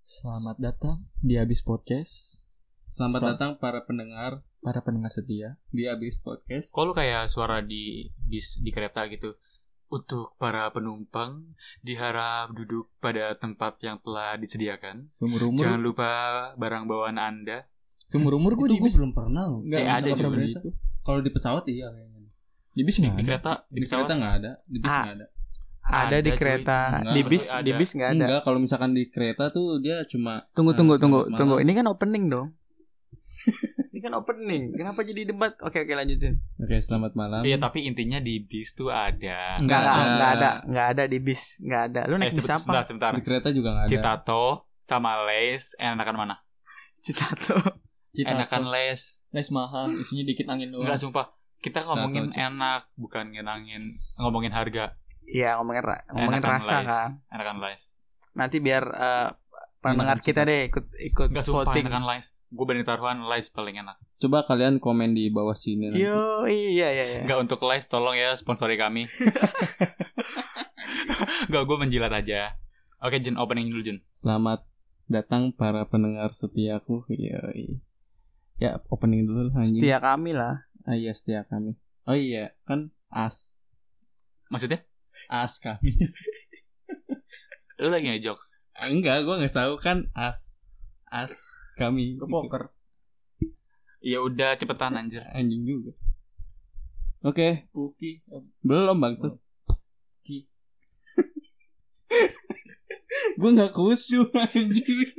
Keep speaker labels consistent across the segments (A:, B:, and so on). A: Selamat datang di Abis Podcast,
B: Selamat
A: Sel-
B: datang para pendengar
A: para pendengar setia.
B: di Abis Podcast.
C: Kok lu kayak suara di bis di kereta gitu? Untuk para penumpang, diharap duduk pada tempat yang telah disediakan.
A: Seumur
C: Jangan
A: umur,
C: lupa barang bawaan Anda.
A: seumur umur
B: Itu
A: gue di
B: gue
A: bis
B: belum pernah loh.
A: nggak
C: Eh,
A: bisa
C: ada
A: pakai
C: juga
A: berita.
B: Kalau di pesawat iya kayaknya.
A: Di bis nggak
C: Di
A: ada.
C: kereta,
B: Di kereta nggak ada, di bis
D: Ah,
B: nggak ada.
D: ada, di
C: cuy.
D: kereta
B: Enggak,
D: di bis
C: maksudnya
D: di
C: ada.
D: bis nggak ada
B: Enggak, kalau misalkan di kereta tuh dia cuma
D: tunggu
B: Nah,
D: tunggu tunggu
B: selamat
D: tunggu
B: malam.
D: ini kan opening dong ini kan opening kenapa jadi debat oke oke lanjutin
B: Oke, selamat malam.
C: Iya, tapi intinya di bis tuh ada.
B: Nggak
D: nggak
B: ada.
D: ada nggak ada nggak ada di bis nggak ada lu
C: Eh,
D: naik bis
C: sebut- sebentar,
D: apa
C: sebentar.
B: Di kereta juga nggak ada.
C: Citato sama Les enakan mana?
D: Citato
A: Cita
C: Enakan Les.
A: les mahal, isinya dikit angin doang.
C: Enggak sumpah. Kita ngomongin
B: Citato,
C: enak, bukan ngenangin ngomongin harga.
D: Iya ngomongin ra- ngomongin
C: Enakan
D: rasa
C: Les.
D: kan
C: Enakan Les.
D: nanti biar eh, pendengar
A: Enakan
D: kita deh ikut ikut
C: Iya, Enggak sumpah
D: voting
C: enakan Les. Gue berani taruhan Les paling enak.
B: Coba kalian komen di bawah sini nanti.
D: yo iya iya iya
C: Enggak untuk live tolong ya sponsori kami. Enggak gue menjilat aja. Oke Jun opening dulu Jun.
B: Selamat datang para pendengar setiaku. Yoi. Ya, opening dulu lah anjing.
D: setia kami lah
B: Ah, iya, setia kami. Oh iya, kan as
C: Maksudnya
B: as kami. Ah,
C: lu lagi nge jokes.
B: Enggak, gua nggak tahu kan as as kami.
A: Gue
B: gitu.
A: poker.
C: Ya udah cepetan anjir.
B: anjing juga. Oke,
A: Puki.
B: belum bangsa. Ki. gue nggak khusyuk anjing.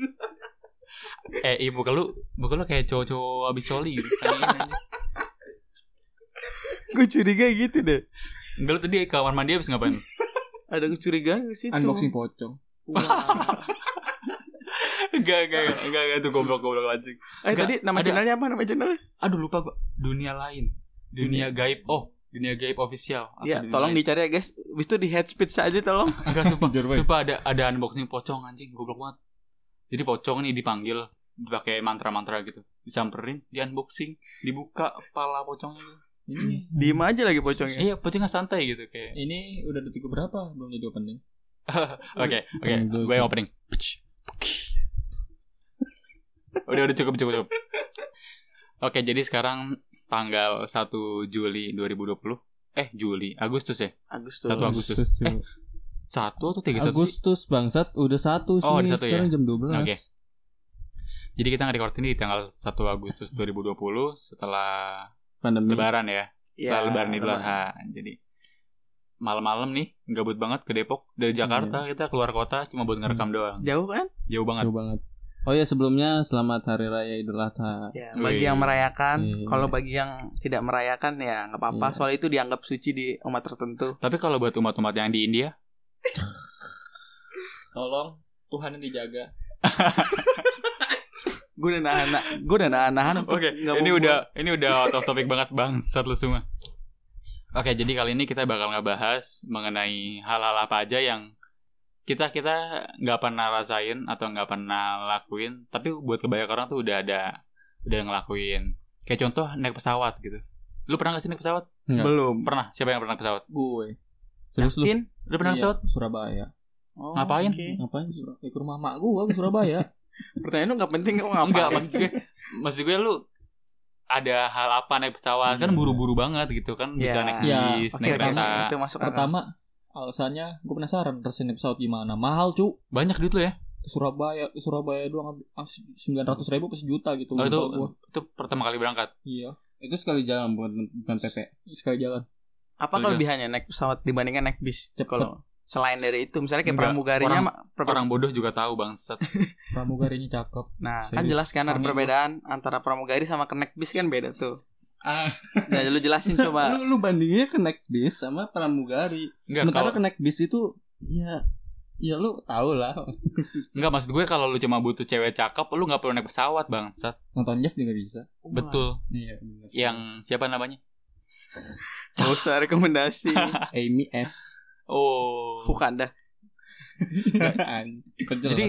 C: Eh ibu kalau muka lu kayak cowok-cowok abis coli gitu. Tanyain
A: Iya.
C: aja.
D: gue curiga gitu deh
C: Enggak lu tadi kamar mandi abis ngapain?
D: ada kecurigaan ke situ
B: Unboxing pocong.
C: Enggak enggak enggak, enggak enggak itu goblok-goblok anjing.
D: eh
C: Enggak,
D: tadi nama
C: ada.
D: channelnya apa nama channelnya
C: Aduh lupa gua. Dunia lain. Dunia Iya, gaib. Oh, dunia gaib official. Apa
D: ya
C: dunia
D: tolong
C: lain?
D: dicari ya guys bis itu di head speech aja tolong
C: Enggak sumpah.
B: Jujur, Boy.
C: Sumpah ada ada unboxing pocong anjing goblok banget. Jadi pocong nih dipanggil dipakai mantra-mantra gitu. Disamperin, di unboxing, dibuka kepala pocongnya gitu.
A: Ini
D: diem aja lagi pocongnya
C: Iya, pocongnya santai gitu kayak.
A: ini udah detik berapa belum jadi opening?
C: Oke, oke.
B: Aduh.
C: Gue yang opening. Udah udah cukup cukup cukup. Oke, jadi sekarang tanggal 1 Juli 2020. Eh, Juli, Agustus ya?
D: Agustus.
C: Satu Agustus.
B: cuy.
C: Eh, Satu atau tiga satu sih?
B: Agustus bangsat udah satu sih
C: Oh,
B: nih,
C: udah satu,
B: sekarang jam 12
C: Oke. Jadi kita nge-record ini di tanggal 1 Agustus 2020 setelah
A: Hmm.
B: Pandemi.
C: lebaran ya.
D: Ya,
C: Setelah lebaran Idul Adha. Jadi malam-malam nih gabut banget ke Depok dari Jakarta kita keluar kota cuma buat ngerekam doang.
D: Jauh kan?
C: Hmm. Jauh banget.
B: Jauh banget. Oh ya sebelumnya selamat Hari Raya Idul Adha.
D: Ya,
C: Wih.
D: bagi yang merayakan,
B: Iya.
D: kalau bagi yang tidak merayakan ya nggak apa-apa.
B: Iya.
D: Soal itu dianggap suci di umat tertentu.
C: Tapi kalau buat umat-umat yang di India,
A: Tolong Tuhan yang dijaga.
D: Gue dan anak, gue dan anak-anak
C: ini udah ini udah out of topic banget bangsat lu semua. Oke, jadi kali ini kita bakal ngebahas mengenai hal-hal apa aja yang kita kita nggak pernah rasain atau nggak pernah lakuin, tapi buat kebanyakan orang tuh udah ada udah ngelakuin. Kayak contoh naik pesawat gitu. Lu pernah nggak sih naik pesawat?
B: Enggak.
D: belum.
C: Pernah. Siapa yang pernah naik pesawat?
A: Gue.
B: Terus lu
D: Yakin?
C: Lu pernah naik
A: Iya,
C: pesawat?
B: Surabaya.
D: Oh,
C: Ngapain?
D: oke.
B: Ngapain?
A: Sur- Ya, ke rumah mak gue ke Surabaya.
D: Pertanyaan lu nggak penting kok ngapain?
C: Enggak, maksud gue maksud gue lu ada hal apa naik pesawat kan
B: Iya.
C: buru-buru banget gitu kan bisa
D: Ya.
C: naik
A: Iya.
C: bis,
D: Oke,
C: naik
D: oke,
C: kereta.
D: itu masuk akal.
A: Pertama alasannya gue penasaran resin pesawat gimana. Mahal cu.
C: Banyak duit lu ya.
A: Ke Surabaya ke Surabaya doang sembilan ratus ribu per sejuta gitu.
C: Oh, itu
A: Lupa gua.
C: itu pertama kali berangkat.
A: Iya.
B: Itu sekali jalan bukan bukan PP.
A: Sekali jalan.
D: Apa
C: Iya.
D: kelebihannya naik pesawat dibandingkan naik bis?
A: Cepet.
D: Kalau selain dari itu, misalnya kayak
C: Enggak,
D: pramugarinya, ma- per-
C: Orang bodoh juga tahu bangsat.
A: Pramugarinya cakep.
D: nah kan
A: Serius,
D: jelas kan ada
A: sama gua.
D: perbedaan antara pramugari sama kenek bis kan beda tuh.
B: Ah,
D: Nah, lu jelasin coba.
B: lu lu bandinginnya connect bis sama pramugari. Sementara
C: Enggak
A: kan-
C: kalau-
B: connect bis itu ya ya lu tau lah.
C: Enggak maksud gue kalau lu cuma butuh cewek cakep, lu nggak perlu naik pesawat bangsat.
A: Nonton Jeff juga bisa.
C: Betul.
B: Iya.
C: Yang siapa namanya?
D: Gak usah rekomendasi.
B: Amy F.
C: Oh.
D: Fukanda.
C: Jadi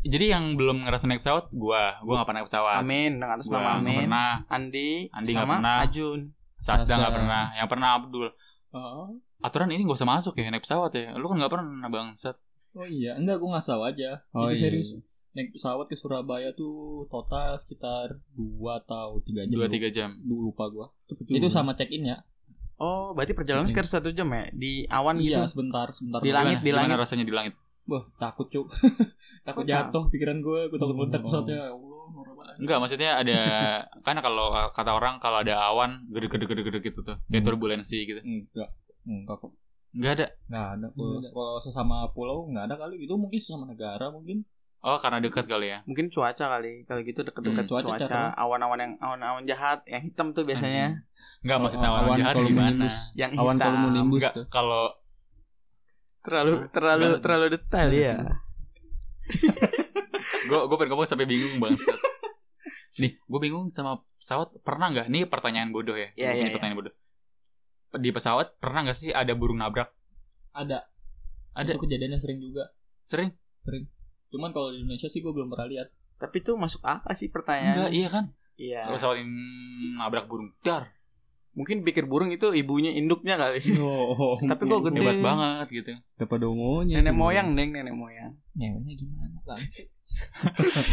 C: jadi yang belum ngerasa naik pesawat, gua gua nggak pernah naik pesawat.
D: Amin dengan atas
C: Gua
D: nama
C: nggak
D: Amin.
C: pernah.
D: Andi,
C: Andi nggak
D: sama
C: pernah.
D: Ajun.
C: Sasda nggak
B: Sasda.
C: pernah. Yang pernah Abdul.
B: Oh.
C: Aturan ini gak usah masuk ya naik pesawat ya. Lu kan nggak pernah bangsat.
A: Oh iya, enggak gue ngasal aja.
B: Oh,
A: itu
B: iya.
A: serius. naik pesawat ke Surabaya tuh total sekitar 2 atau 3 jam.
C: dua
A: Lu-
C: tiga jam
A: lu lupa gua.
B: Cepet
A: Itu
B: juga.
A: sama check in ya.
D: Oh, berarti perjalanan
B: Oke.
D: sekitar satu jam ya di
C: Kan
D: awan
A: Iya,
D: gitu.
A: sebentar, sebentar.
D: Di langit,
C: Gimana-
D: di
C: gimana
D: langit.
C: rasanya di langit
A: Wah, takut, Cuk. takut
D: Kok
A: jatuh pikiran gua, gua takut
B: Oh.
A: meledak pesawatnya. Ya Allah, norak banget.
C: enggak maksudnya ada karena kalau uh, kata orang kalau ada awan gede gede gede gede gitu tuh kayak
B: Hmm.
C: turbulensi gitu
A: Enggak. Enggak kok.
C: enggak
A: Enggak
C: ada
A: Nah, ada. Kalau,
B: Enggak ada.
A: kalau sesama pulau enggak ada kali. Itu mungkin sesama negara mungkin.
C: oh karena dekat kali ya
D: Mungkin cuaca kali. Kalau gitu
C: Mm,
D: dekat-dekat
A: Hmm, cuaca,
D: cuaca,
A: cuaca.
D: awan-awan yang awan-awan jahat, yang hitam tuh biasanya.
C: enggak maksudnya Oh, awan,
B: Awan
C: jahat
B: kalau
C: gimana
B: menimbus.
D: Yang hitam.
B: Awan kalau mau nimbus
C: "Ah, enggak
B: tuh.
C: kalau
D: terlalu terlalu
C: Enggak.
D: terlalu detail ya.
C: gue gue pengen ngomong sampai bingung banget nih gue bingung sama pesawat pernah nggak nih pertanyaan bodoh ya
D: Iya,
C: Ini
D: iya, iya.
C: pertanyaan bodoh di pesawat pernah nggak sih ada burung nabrak
A: Ada.
C: Ada.
A: Itu kejadiannya sering juga.
C: sering
A: Cuman kalau di Indonesia sih gua belum pernah lihat.
D: Tapi tuh masuk akal sih
C: enggak
D: pertanyaan.
C: iya kan
D: Iya.
C: pesawat yang nabrak burung dar
D: Mungkin pikir burung itu ibunya induknya
C: Iya,
D: kali.
A: Oh.
D: Tapi kok gede.
C: hebat banget gitu
B: Dapat dongonya.
D: Nenek
B: tuh.
D: moyang, Neng, nenek moyang.
A: Nyewanya gimana? Langsung.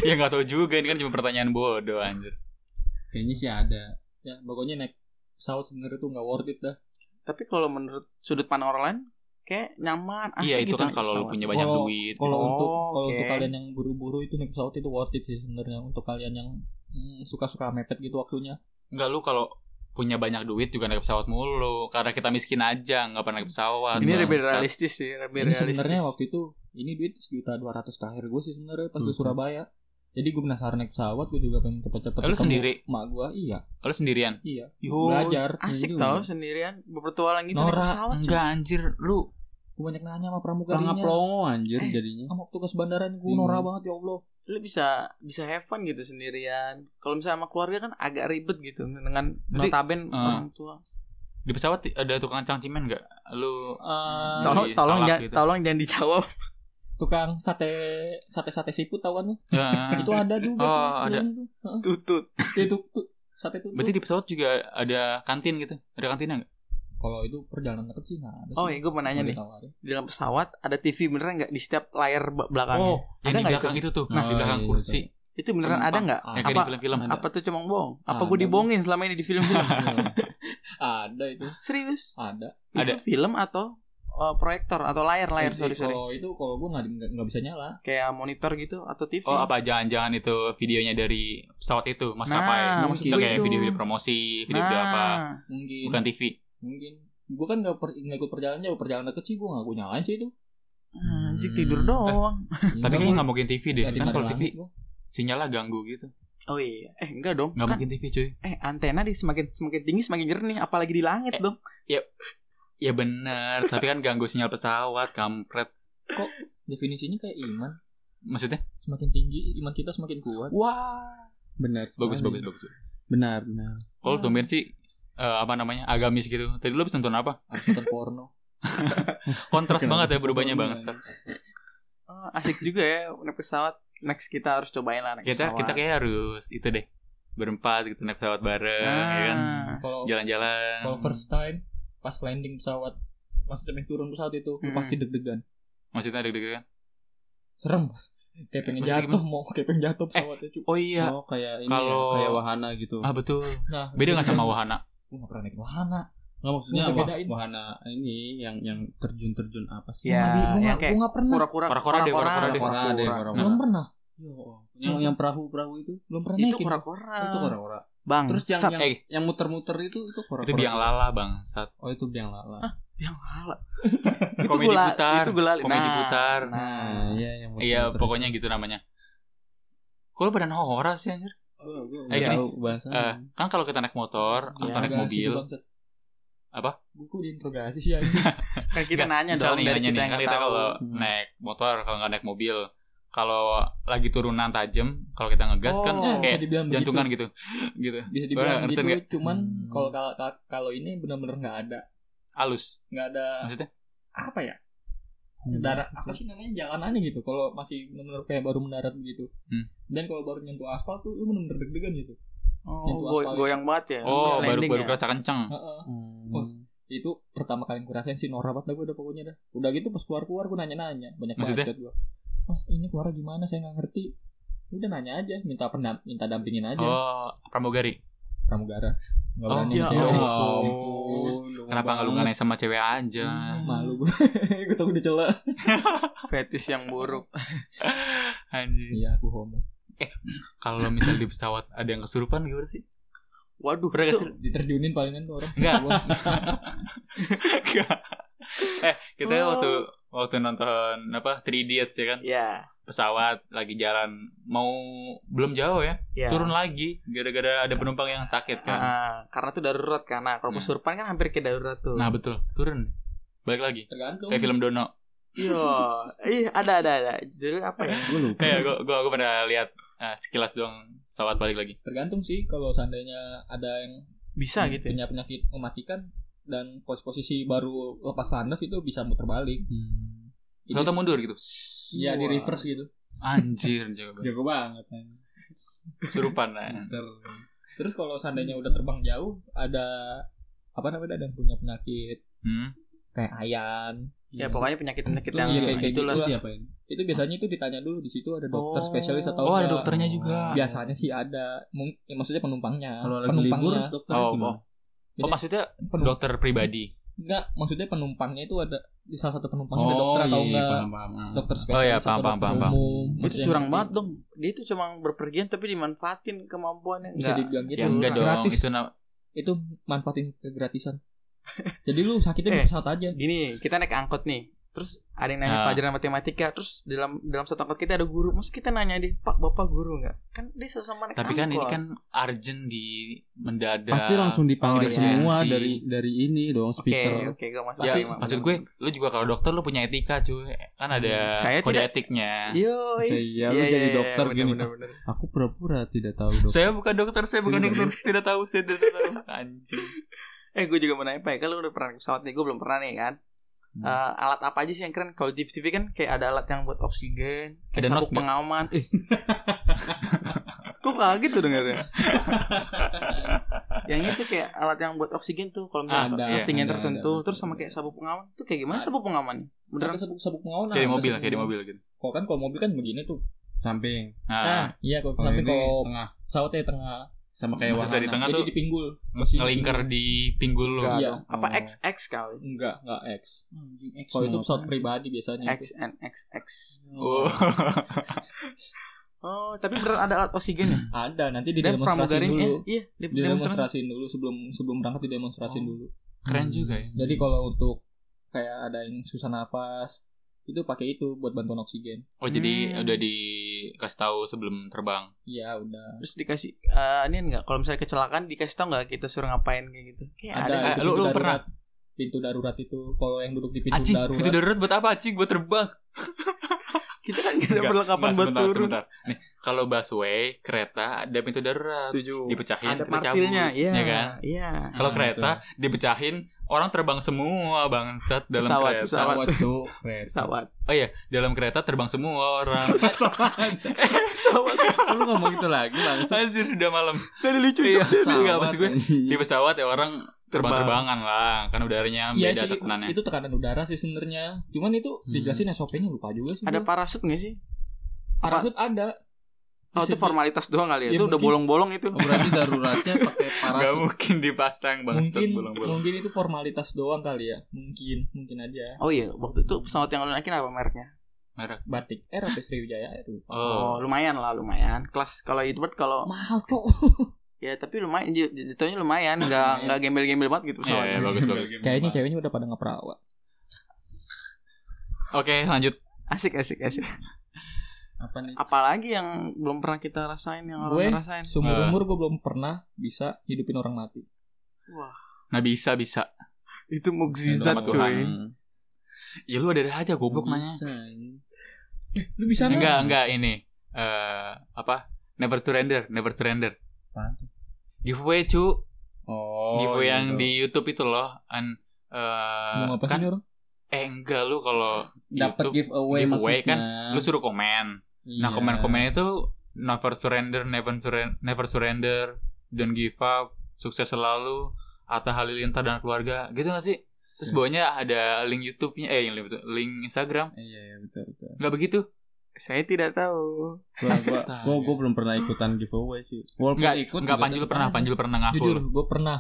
C: ya nggak tahu juga ini kan cuma pertanyaan bodoh anjir
B: Kayaknya sih ada.
A: Ya, pokoknya naik pesawat sebenarnya tuh nggak worth it dah.
D: Tapi kalau menurut sudut pandang orang lain kayak nyaman, asik
C: iya itu
D: gitu
C: kan
D: naik
C: kalau lu
D: pesawat.
C: punya banyak
A: Kalau-
C: duit
A: Kalau
D: Oh,
A: untuk kalau untuk
D: oke.
A: kalian yang buru-buru itu naik pesawat itu worth it sih sebenarnya untuk kalian yang mm, suka-suka mepet gitu waktunya.
C: nggak lu kalau punya banyak duit juga naik pesawat mulu karena kita miskin aja nggak pernah naik pesawat
D: Ini lebih
C: Bangsat.
D: realistis sih, lebih
A: ini
D: realistis.
A: sebenarnya waktu itu ini duit sejuta dua ratus terakhir gue sih sebenarnya pas ke
B: Buset.
A: Surabaya. Jadi gue penasaran naik pesawat, gue juga pengen cepet-cepet.
C: Eh, lu
A: ketemu
C: sendiri?
A: Mak gue, iya,
C: lu sendirian
A: iya.
D: Yo,
A: Belajar.
D: Asik
A: Ini
D: tau
A: juga.
D: sendirian berpetualang gitu naik
A: Nora,
D: pesawat. cuy.
C: Iya.
D: Iya.
C: enggak anjir lu
A: Gue banyak nanya sama pramugarinya.
B: Bangga plongo Oh, anjir
D: Eh.
B: jadinya.
A: Sama tugas bandara gue
B: Bingung.
A: norak banget ya Allah.
D: Lu bisa bisa have fun gitu sendirian. Kalau misalnya sama keluarga kan agak ribet gitu dengan
C: Berarti,
D: notaben
C: eh,
D: orang tua.
C: di pesawat ti- ada tukang cangcimen nggak
A: Eh,
C: lu Tau-
D: Tolong
C: di
D: tolong
C: salak
D: jangan
C: gitu.
D: tolong jangan dijawab.
A: tukang sate sate sate siput tau kan lu?
C: Eh,
A: Itu ada juga.
C: Oh,
A: tuh,
C: ada.
A: yang tuh. Heeh.
D: Tutut.
A: Itu tuh sate tuh.
C: berarti di pesawat juga ada kantin gitu ada kantinnya nggak
A: kalau itu perjalanan deket sih nggak ada
D: Oh,
A: sih.
D: ya gue mau nanya
A: Nggak
D: nih.
A: ditawarin.
D: Di dalam pesawat ada TV beneran nggak di setiap layar be- belakangnya?
C: Oh, yang
D: Ada
C: di
D: nggak
C: belakang itu, tuh
B: Nah,
C: di belakang
B: iya, iya,
C: kursi
D: Itu beneran
C: Penumpang.
D: ada nggak?
C: yang kayak di
D: Apa
C: film-film
B: Ada.
D: apa tuh cuma bohong? Apa
A: Ada.
D: gue dibohongin selama ini di film-film?
A: ada itu
D: Serius?
A: ada
D: Itu
C: Ada. Iya,
D: film atau eh, proyektor atau layar-layar
A: Jadi
D: sorry
C: oh.
D: sorry.
A: kalau itu kalau gue nggak nggak- nggak bisa nyala
D: Kayak monitor gitu atau TV?
C: oh apa jangan-jangan itu videonya dari pesawat itu
D: Nah,
C: maskapai
A: maksud
C: itu
A: gue
C: kayak
D: itu.
C: video-video promosi video-video apa
D: Nah,
A: mungkin
C: bukan TV
B: Iya,
A: mungkin gue kan nggak per, nggak ikut perjalanan jauh perjalanan deket sih gue nggak gue nyalain sih itu
D: Anjing
B: Hmm.
D: tidur doang.
C: tapi
B: iya.
C: kayaknya nggak mungkin TV deh
A: Nggak
C: kan
A: dimatiin
C: kalau
A: langit
C: TV
A: gua.
C: sinyalnya ganggu gitu
D: Oh iya, eh enggak dong.
C: nggak
D: Kan,
C: mungkin TV cuy
D: eh antena di semakin semakin tinggi semakin jernih, apalagi di langit
C: Eh.
D: dong.
C: ya bener tapi kan ganggu sinyal pesawat kampret
A: definisinya kayak iman
C: maksudnya
A: semakin tinggi iman kita semakin kuat
D: Wah.
B: Benar.
C: bagus
B: sekali.
C: bagus bagus
B: Benar, benar.
C: oh tumben sih eh, apa namanya agamis gitu tadi lu habis nonton apa
A: nonton porno
C: kontras
B: Kenapa?
C: banget ya berubahnya banget
D: Eh, Asik juga ya naik pesawat. Next kita harus cobain lah naik
C: kita
D: pesawat.
C: kita kayak harus itu deh berempat gitu naik pesawat bareng
D: nah,
B: Ah.
C: ya kan
A: kalau
C: jalan-jalan
A: kalau first time pas landing pesawat maksudnya pengen turun pesawat itu lu
C: Hmm.
D: Mm-mm.
A: pasti deg-degan
C: maksudnya deg-degan
A: serem kayak pengen
C: Maksudnya
A: jatuh mau kayak pengen jatuh pesawatnya cuy
C: oh iya
B: Oh, kayak ini
C: Kalau-
B: ya, kayak wahana gitu.
C: ah betul
A: nah
C: beda nggak sama wahana
A: gue nggak pernah naik wahana
B: Nggak maksudnya
A: Bisa
B: wah-
A: bedain.
B: wahana ini yang yang terjun-terjun apa sih?
A: Gua
D: Ya,
A: nggak-
D: ya
A: gua
D: kayak
A: nggak pernah
D: kura-kura
C: Kora-kora deh, kora-kora deh. Nah,
B: Kora-kora deh, kora-kora.
A: belum pernah
B: Ya Allah. Yang yang perahu-perahu itu.
A: belum pernah gitu. Ah.
D: Itu
C: gitu.
A: naikin.
D: kura-kura.
B: Itu kora-kora.
D: Bang.
B: Terus yang
D: sat.
B: Kan yang,
C: Eh.
B: yang muter-muter itu itu kora-kora.
C: itu biang lala bang saat
B: Oh, itu biang lala.
A: Ah.
D: yang halal. itu
C: komedi
D: gula,
C: putar
D: itu gula.
C: komedi
D: nah,
C: putar
B: Nah, iya yang
C: Ah. iya pokoknya gitu namanya kalau badan horor sih anjir
A: Oh,
B: Eh,
C: Eh, gini.
B: tahu bahasa.
C: Eh,
A: Iya.
C: kan kalau kita naik motor
D: Iya,
C: atau naik mobil Apa?
A: Buku diinterogasi sih anjing.
D: Kan kita
C: Nggak,
D: nanya
C: misal
D: dong
C: nih,
D: dari
C: nanya
D: kita
C: nih,
D: yang
C: kan
D: kita
C: kita kalau
B: Hmm.
C: naik motor kalau nggak naik mobil kalau lagi turunan tajam kalau kita ngegas kan
D: Oh.
A: Ya, bisa
C: kayak
A: dibilang
C: jantungan gitu gitu
A: begitu. Bisa dibilang
C: Orang ngerti
A: gitu,
C: nggak?
A: cuman
B: Hmm.
A: kalau kalau kalau- kalau ini benar-benar nggak ada.
C: halus
A: Nggak ada
C: maksudnya Hmm.
A: apa ya? Darat apa sih namanya jalanannya gitu. Kalau masih benar-benar kayak baru mendarat gitu.
C: Hmm.
A: Dan kalau baru nyentuh aspal tuh lu benar-benar deg-degan gitu. Itu
D: Oh,
A: aspal.
D: go- goyang banget ya.
C: oh
D: Terus
C: baru
D: landing
C: baru
D: ya.
C: kerasa kenceng
A: Heeh.
B: Hmm.
A: Oh, Itu pertama kali gue rasain sih norak banget dah gue udah pokoknya dah. Udah gitu pas keluar-keluar gue nanya-nanya, banyak
C: Maksudnya?
A: banget gue. mas ini keluar gimana saya nggak ngerti udah nanya aja minta pendam minta dampingin aja
C: Oh, pramugari.
A: pramugara nggak
C: Oh,
A: berani
C: ya
A: cewek.
C: ampun.
A: Lu
C: Kenapa nggak lu
A: banget.
C: nganain sama cewek aja?
A: Hmm, malu gue gue takut dicela
D: Fetis yang buruk.
C: Anjir.
A: iya aku homo
C: Kalau lo misal di pesawat ada yang kesurupan gimana sih?
D: Waduh,
C: Pernah nggak
D: itu
C: sih?
A: diterjunin palingan tuh orang
C: Nggak.
A: Gua-
C: Nggak. eh, kita
D: Oh.
C: waktu waktu nonton apa 3 Idiots ya kan?
D: ya.
C: Pesawat lagi jalan mau belum jauh ya.
D: ya.
C: Turun lagi gara-gara ada penumpang yang sakit
D: Ah,
C: kan.
D: ah, karena tuh darurat kan. Nah, kalau
C: Hmm.
D: kesurupan kan hampir kayak darurat tuh.
C: Nah, betul. Turun. Balik lagi.
A: tergantung
C: Kayak film Dono.
D: Yo, Iya. ih ada ada ada. Jadi apa ya?
A: gue lupa
C: Eh, gua gua, gua pernah lihat eh, sekilas doang pesawat balik lagi.
A: tergantung sih kalau seandainya ada yang
D: Bisa gitu. Ya?
A: Iya, punya penyakit mematikan dan pos posisi baru lepas landas itu bisa muter balik
C: Hmm.
A: Itu
C: Atau mundur gitu.
A: ya di
D: Wah.
A: reverse gitu
C: Anjir, jago banget.
A: jago banget kan
C: Kesurupan. nah.
A: Hmm. terus kalau seandainya udah terbang jauh ada apa namanya ada yang punya penyakit
C: Hmm.
A: kayak ayan
D: Ya pokoknya penyakit-penyakit yang
A: Iya, kayak- kayak
D: itulah.
A: gitu diapain? itu biasanya itu ditanya dulu di situ ada dokter
D: Oh.
A: spesialis atau
C: Oh, ada
A: enggak.
C: dokternya juga.
A: biasanya sih ada Mung- ya, maksudnya penumpangnya
B: Kalau lagi
A: penumpangnya
B: libur dokter
C: Oh,
B: gimana?
C: Oh, maksudnya
A: Penump-
C: dokter pribadi.
A: enggak maksudnya penumpangnya itu ada di salah satu penumpangnya ada
C: Oh,
A: dokter atau
B: Iya,
A: enggak
B: paham, paham, paham.
A: dokter
C: Oh, iya,
A: spesialis
C: paham,
A: atau
C: paham,
A: dokter
C: paham, paham.
A: umum
D: Itu
A: Maksudnya
D: curang
A: yang-
D: banget dong. Dia itu cuma berpergian tapi dimanfaatin kemampuannya.
A: bisa
D: Enggak.
A: dibilang gitu
C: ya enggak dong,
A: gratis
C: itu na-
A: itu manfaatin kegratisan jadi lu sakitnya di
D: Eh.
A: pesawat aja
D: Gini, kita naik angkot nih. Terus ada
C: Ah.
D: yang nanya pelajaran matematika, terus dalam dalam satu angkot kita ada guru. Mas kita nanya dia, "Pak, Bapak guru enggak?" Kan dia sama naik
C: tapi kan ini
D: angkot.
C: kan urgent di mendadak.
B: Pasti langsung dipanggil
D: Oh, iya.
B: semua
C: Sih.
B: dari dari ini dong
D: Oke,
B: speaker.
D: oke, gua masuk.
C: Ya,
D: Masuk, Pak.
C: maksud gue lu juga kalau dokter lu punya etika cuy. Kan ada
D: Hmm, saya
C: kode
D: tidak-
C: etiknya.
D: Yo,
B: Saya "Ya,
D: iya,
B: lu
D: iya,
B: jadi
D: iya,
B: dokter
D: bener,
B: gini.
D: bener, bener.
B: Aku pura-pura tidak tahu dokter.
C: Saya bukan dokter, saya bukan
B: Saya
C: dokter, tidak tahu, saya tidak tahu. Anjing.
D: Eh, gue juga mau nanya, Pak, kalau udah pernah naik pesawat nih, gue belum pernah nih kan.
C: Hmm.
D: Eh, alat apa aja sih yang keren? Kalau di TV kan kayak ada alat yang buat oksigen, kayak
C: Ada nos nggak?
D: sabuk pengaman. Eh. Kok kaget tuh dengarnya? yang itu kayak alat yang buat oksigen tuh kalau
A: Ada,
D: misalnya ada,
B: ada,
D: tertentu,
B: ada.
D: terus sama kayak sabuk pengaman. Tuh kayak gimana sabuk pengaman? Beneran
A: Ada sabuk sabuk pengawal
C: Kayak di
A: ada
C: mobil,
A: sabuk
C: kayak di
A: pengawal.
C: mobil gitu.
A: kalau kan kalau mobil kan begini tuh
B: Samping.
C: Nah,
D: Ah.
A: iya kalau
B: Kalau
A: tapi
B: ini
A: kalau
B: tengah
A: pesawatnya tengah
B: sama kayak
C: Itu
B: wahana.
C: dari tengah
A: jadi
C: tuh
A: dipinggul
C: ngelingker di pinggul lu.
D: Enggak
A: iya
D: dong. apa
B: Oh.
D: X X kali?
A: enggak enggak X kalau itu pesawat
B: kan.
A: pribadi biasanya
D: X
A: itu.
D: and X X.
C: Oh.
D: Oh, tapi beneran ada alat oksigen ya?
A: ada nanti
D: Dan
A: didemonstrasiin
D: pramugarinya
A: dulu
D: eh, iya, di demonstrasi.
A: didemonstrasiin dulu sebelum sebelum berangkat didemonstrasiin
D: Oh.
A: dulu
C: Keren juga ya.
A: Hmm. jadi kalau untuk kayak ada yang susah napas itu pakai itu buat bantuan oksigen
C: Oh, jadi
D: Hmm.
C: udah dikasih tahu sebelum terbang.
A: Iya udah
D: Terus dikasih eh ini enggak kalau misalnya kecelakaan dikasih tau enggak kita suruh ngapain kayak gitu. Kayak
A: ada,
D: ada.
C: eh,
A: itu pintu
C: lu- lu
A: darurat
C: pernah?
A: pintu darurat itu kalau yang duduk di pintu
C: Acing,
A: darurat
C: itu darurat buat apa, Acing? Buat terbang.
D: Kita kan enggak ada
C: Enggak,
D: perlengkapan
C: enggak,
D: buat
C: sebentar, Iya,
D: turun.
C: sebentar. Nih, kalau busway, kereta ada pintu darurat.
D: Setuju.
C: Dipecahin,
D: Gitu. Ada
C: kita
D: martilnya,
C: cabut,
D: iya.
C: ya kan?
D: Iya.
C: Kalau
A: Ah,
B: Nah,
C: kereta dipecahin, orang terbang semua bangsat dalam
D: Pesawat,
C: kereta.
D: pesawat.
B: Waduh, keren.
D: Pesawat.
C: Dalam kereta terbang semua orang.
D: Eh, Pesawat.
B: Lu ngomong gitu lagi langsung.
C: Anjir udah malam.
D: Ada lucu
C: Iya,
D: itu.
C: enggak, maksud gue. Di
B: anjing.
C: pesawat ya orang terbang-terbangan lah, kan udaranya
A: Iya
C: beda
A: sih,
C: tekanannya.
A: itu tekanan udara sih sebenarnya. Cuman itu
C: Hmm.
A: dijelasin SOP-nya lupa juga sih.
D: Ada
A: gua.
C: Iya.
D: parasut enggak sih?
A: parasut ada.
D: Oh, itu
A: Disebut-
D: formalitas doang kali ya.
A: Ya,
C: Iya,
D: Itu udah
A: mungkin.
D: bolong-bolong itu.
B: Oh, berarti daruratnya pakai
C: Gak
B: parasut.
C: mungkin dipasang bangsat
A: mungkin
C: bolong-bolong.
A: mungkin itu formalitas doang kali ya. Mungkin, mungkin aja.
D: Oh iya, waktu itu pesawat yang lu naikin apa mereknya?
A: Batik Air apa Sriwijaya Air lupa.
C: Oh.
D: lumayan lah, lumayan. Kelas kalau itu buat kalau
A: Mahal cok.
D: ya tapi lumayan j- jatuhnya lumayan, enggak enggak gembel-gembel banget
C: Iya,
D: gitu
C: iya,
D: pesawatnya.
C: bagus bagus.
A: Kayaknya ceweknya udah pada ngeperawa.
C: Oke, lanjut.
D: Asik asik asik.
B: Apa nih?
D: Apalagi yang belum pernah kita rasain yang orang
A: Gue?
D: nggak rasain.
C: Eh.
A: Seumur umur gue belum pernah bisa hidupin orang mati.
C: Nah, bisa bisa.
D: Itu mukjizat
C: Anu Sama
B: Zat,
D: cuy.
C: Tuhan. Ya lu ada aja goblok nanya.
B: Bisa, ini.
A: Eh, Lu bisa
C: Enggak, enggak ini. Eh apa? Never surrender, never surrender.
B: Apaan
C: Giveaway cu,
B: Oh,
C: giveaway yang
B: gitu.
C: di YouTube itu loh. An, eh,
A: iya, Mau ngapain
C: kan,
A: sih ini orang?
C: eh enggak lu kalau
B: dapat
C: YouTube,
B: giveaway,
C: giveaway
B: maksudnya.
C: kan, lu suruh komen. Nah
B: Iya.
C: komen-komen itu never surrender, never surrender, never surrender, don't give up, sukses selalu, Atta Halilintar dan keluarga, gitu gak sih? Terus bawahnya ada link YouTube-nya, eh link, YouTube, link Instagram,
B: Iya, iya, betul betul.
C: nggak begitu?
D: Saya tidak tahu.
B: Gua, gua, gua, gua belum pernah ikutan giveaway sih. Walaupun
C: Enggak,
B: ikut
C: enggak
B: juga
C: Panjul
B: tetep
C: pernah,
B: aja.
C: Panjul pernah ngaku.
A: Jujur, gue pernah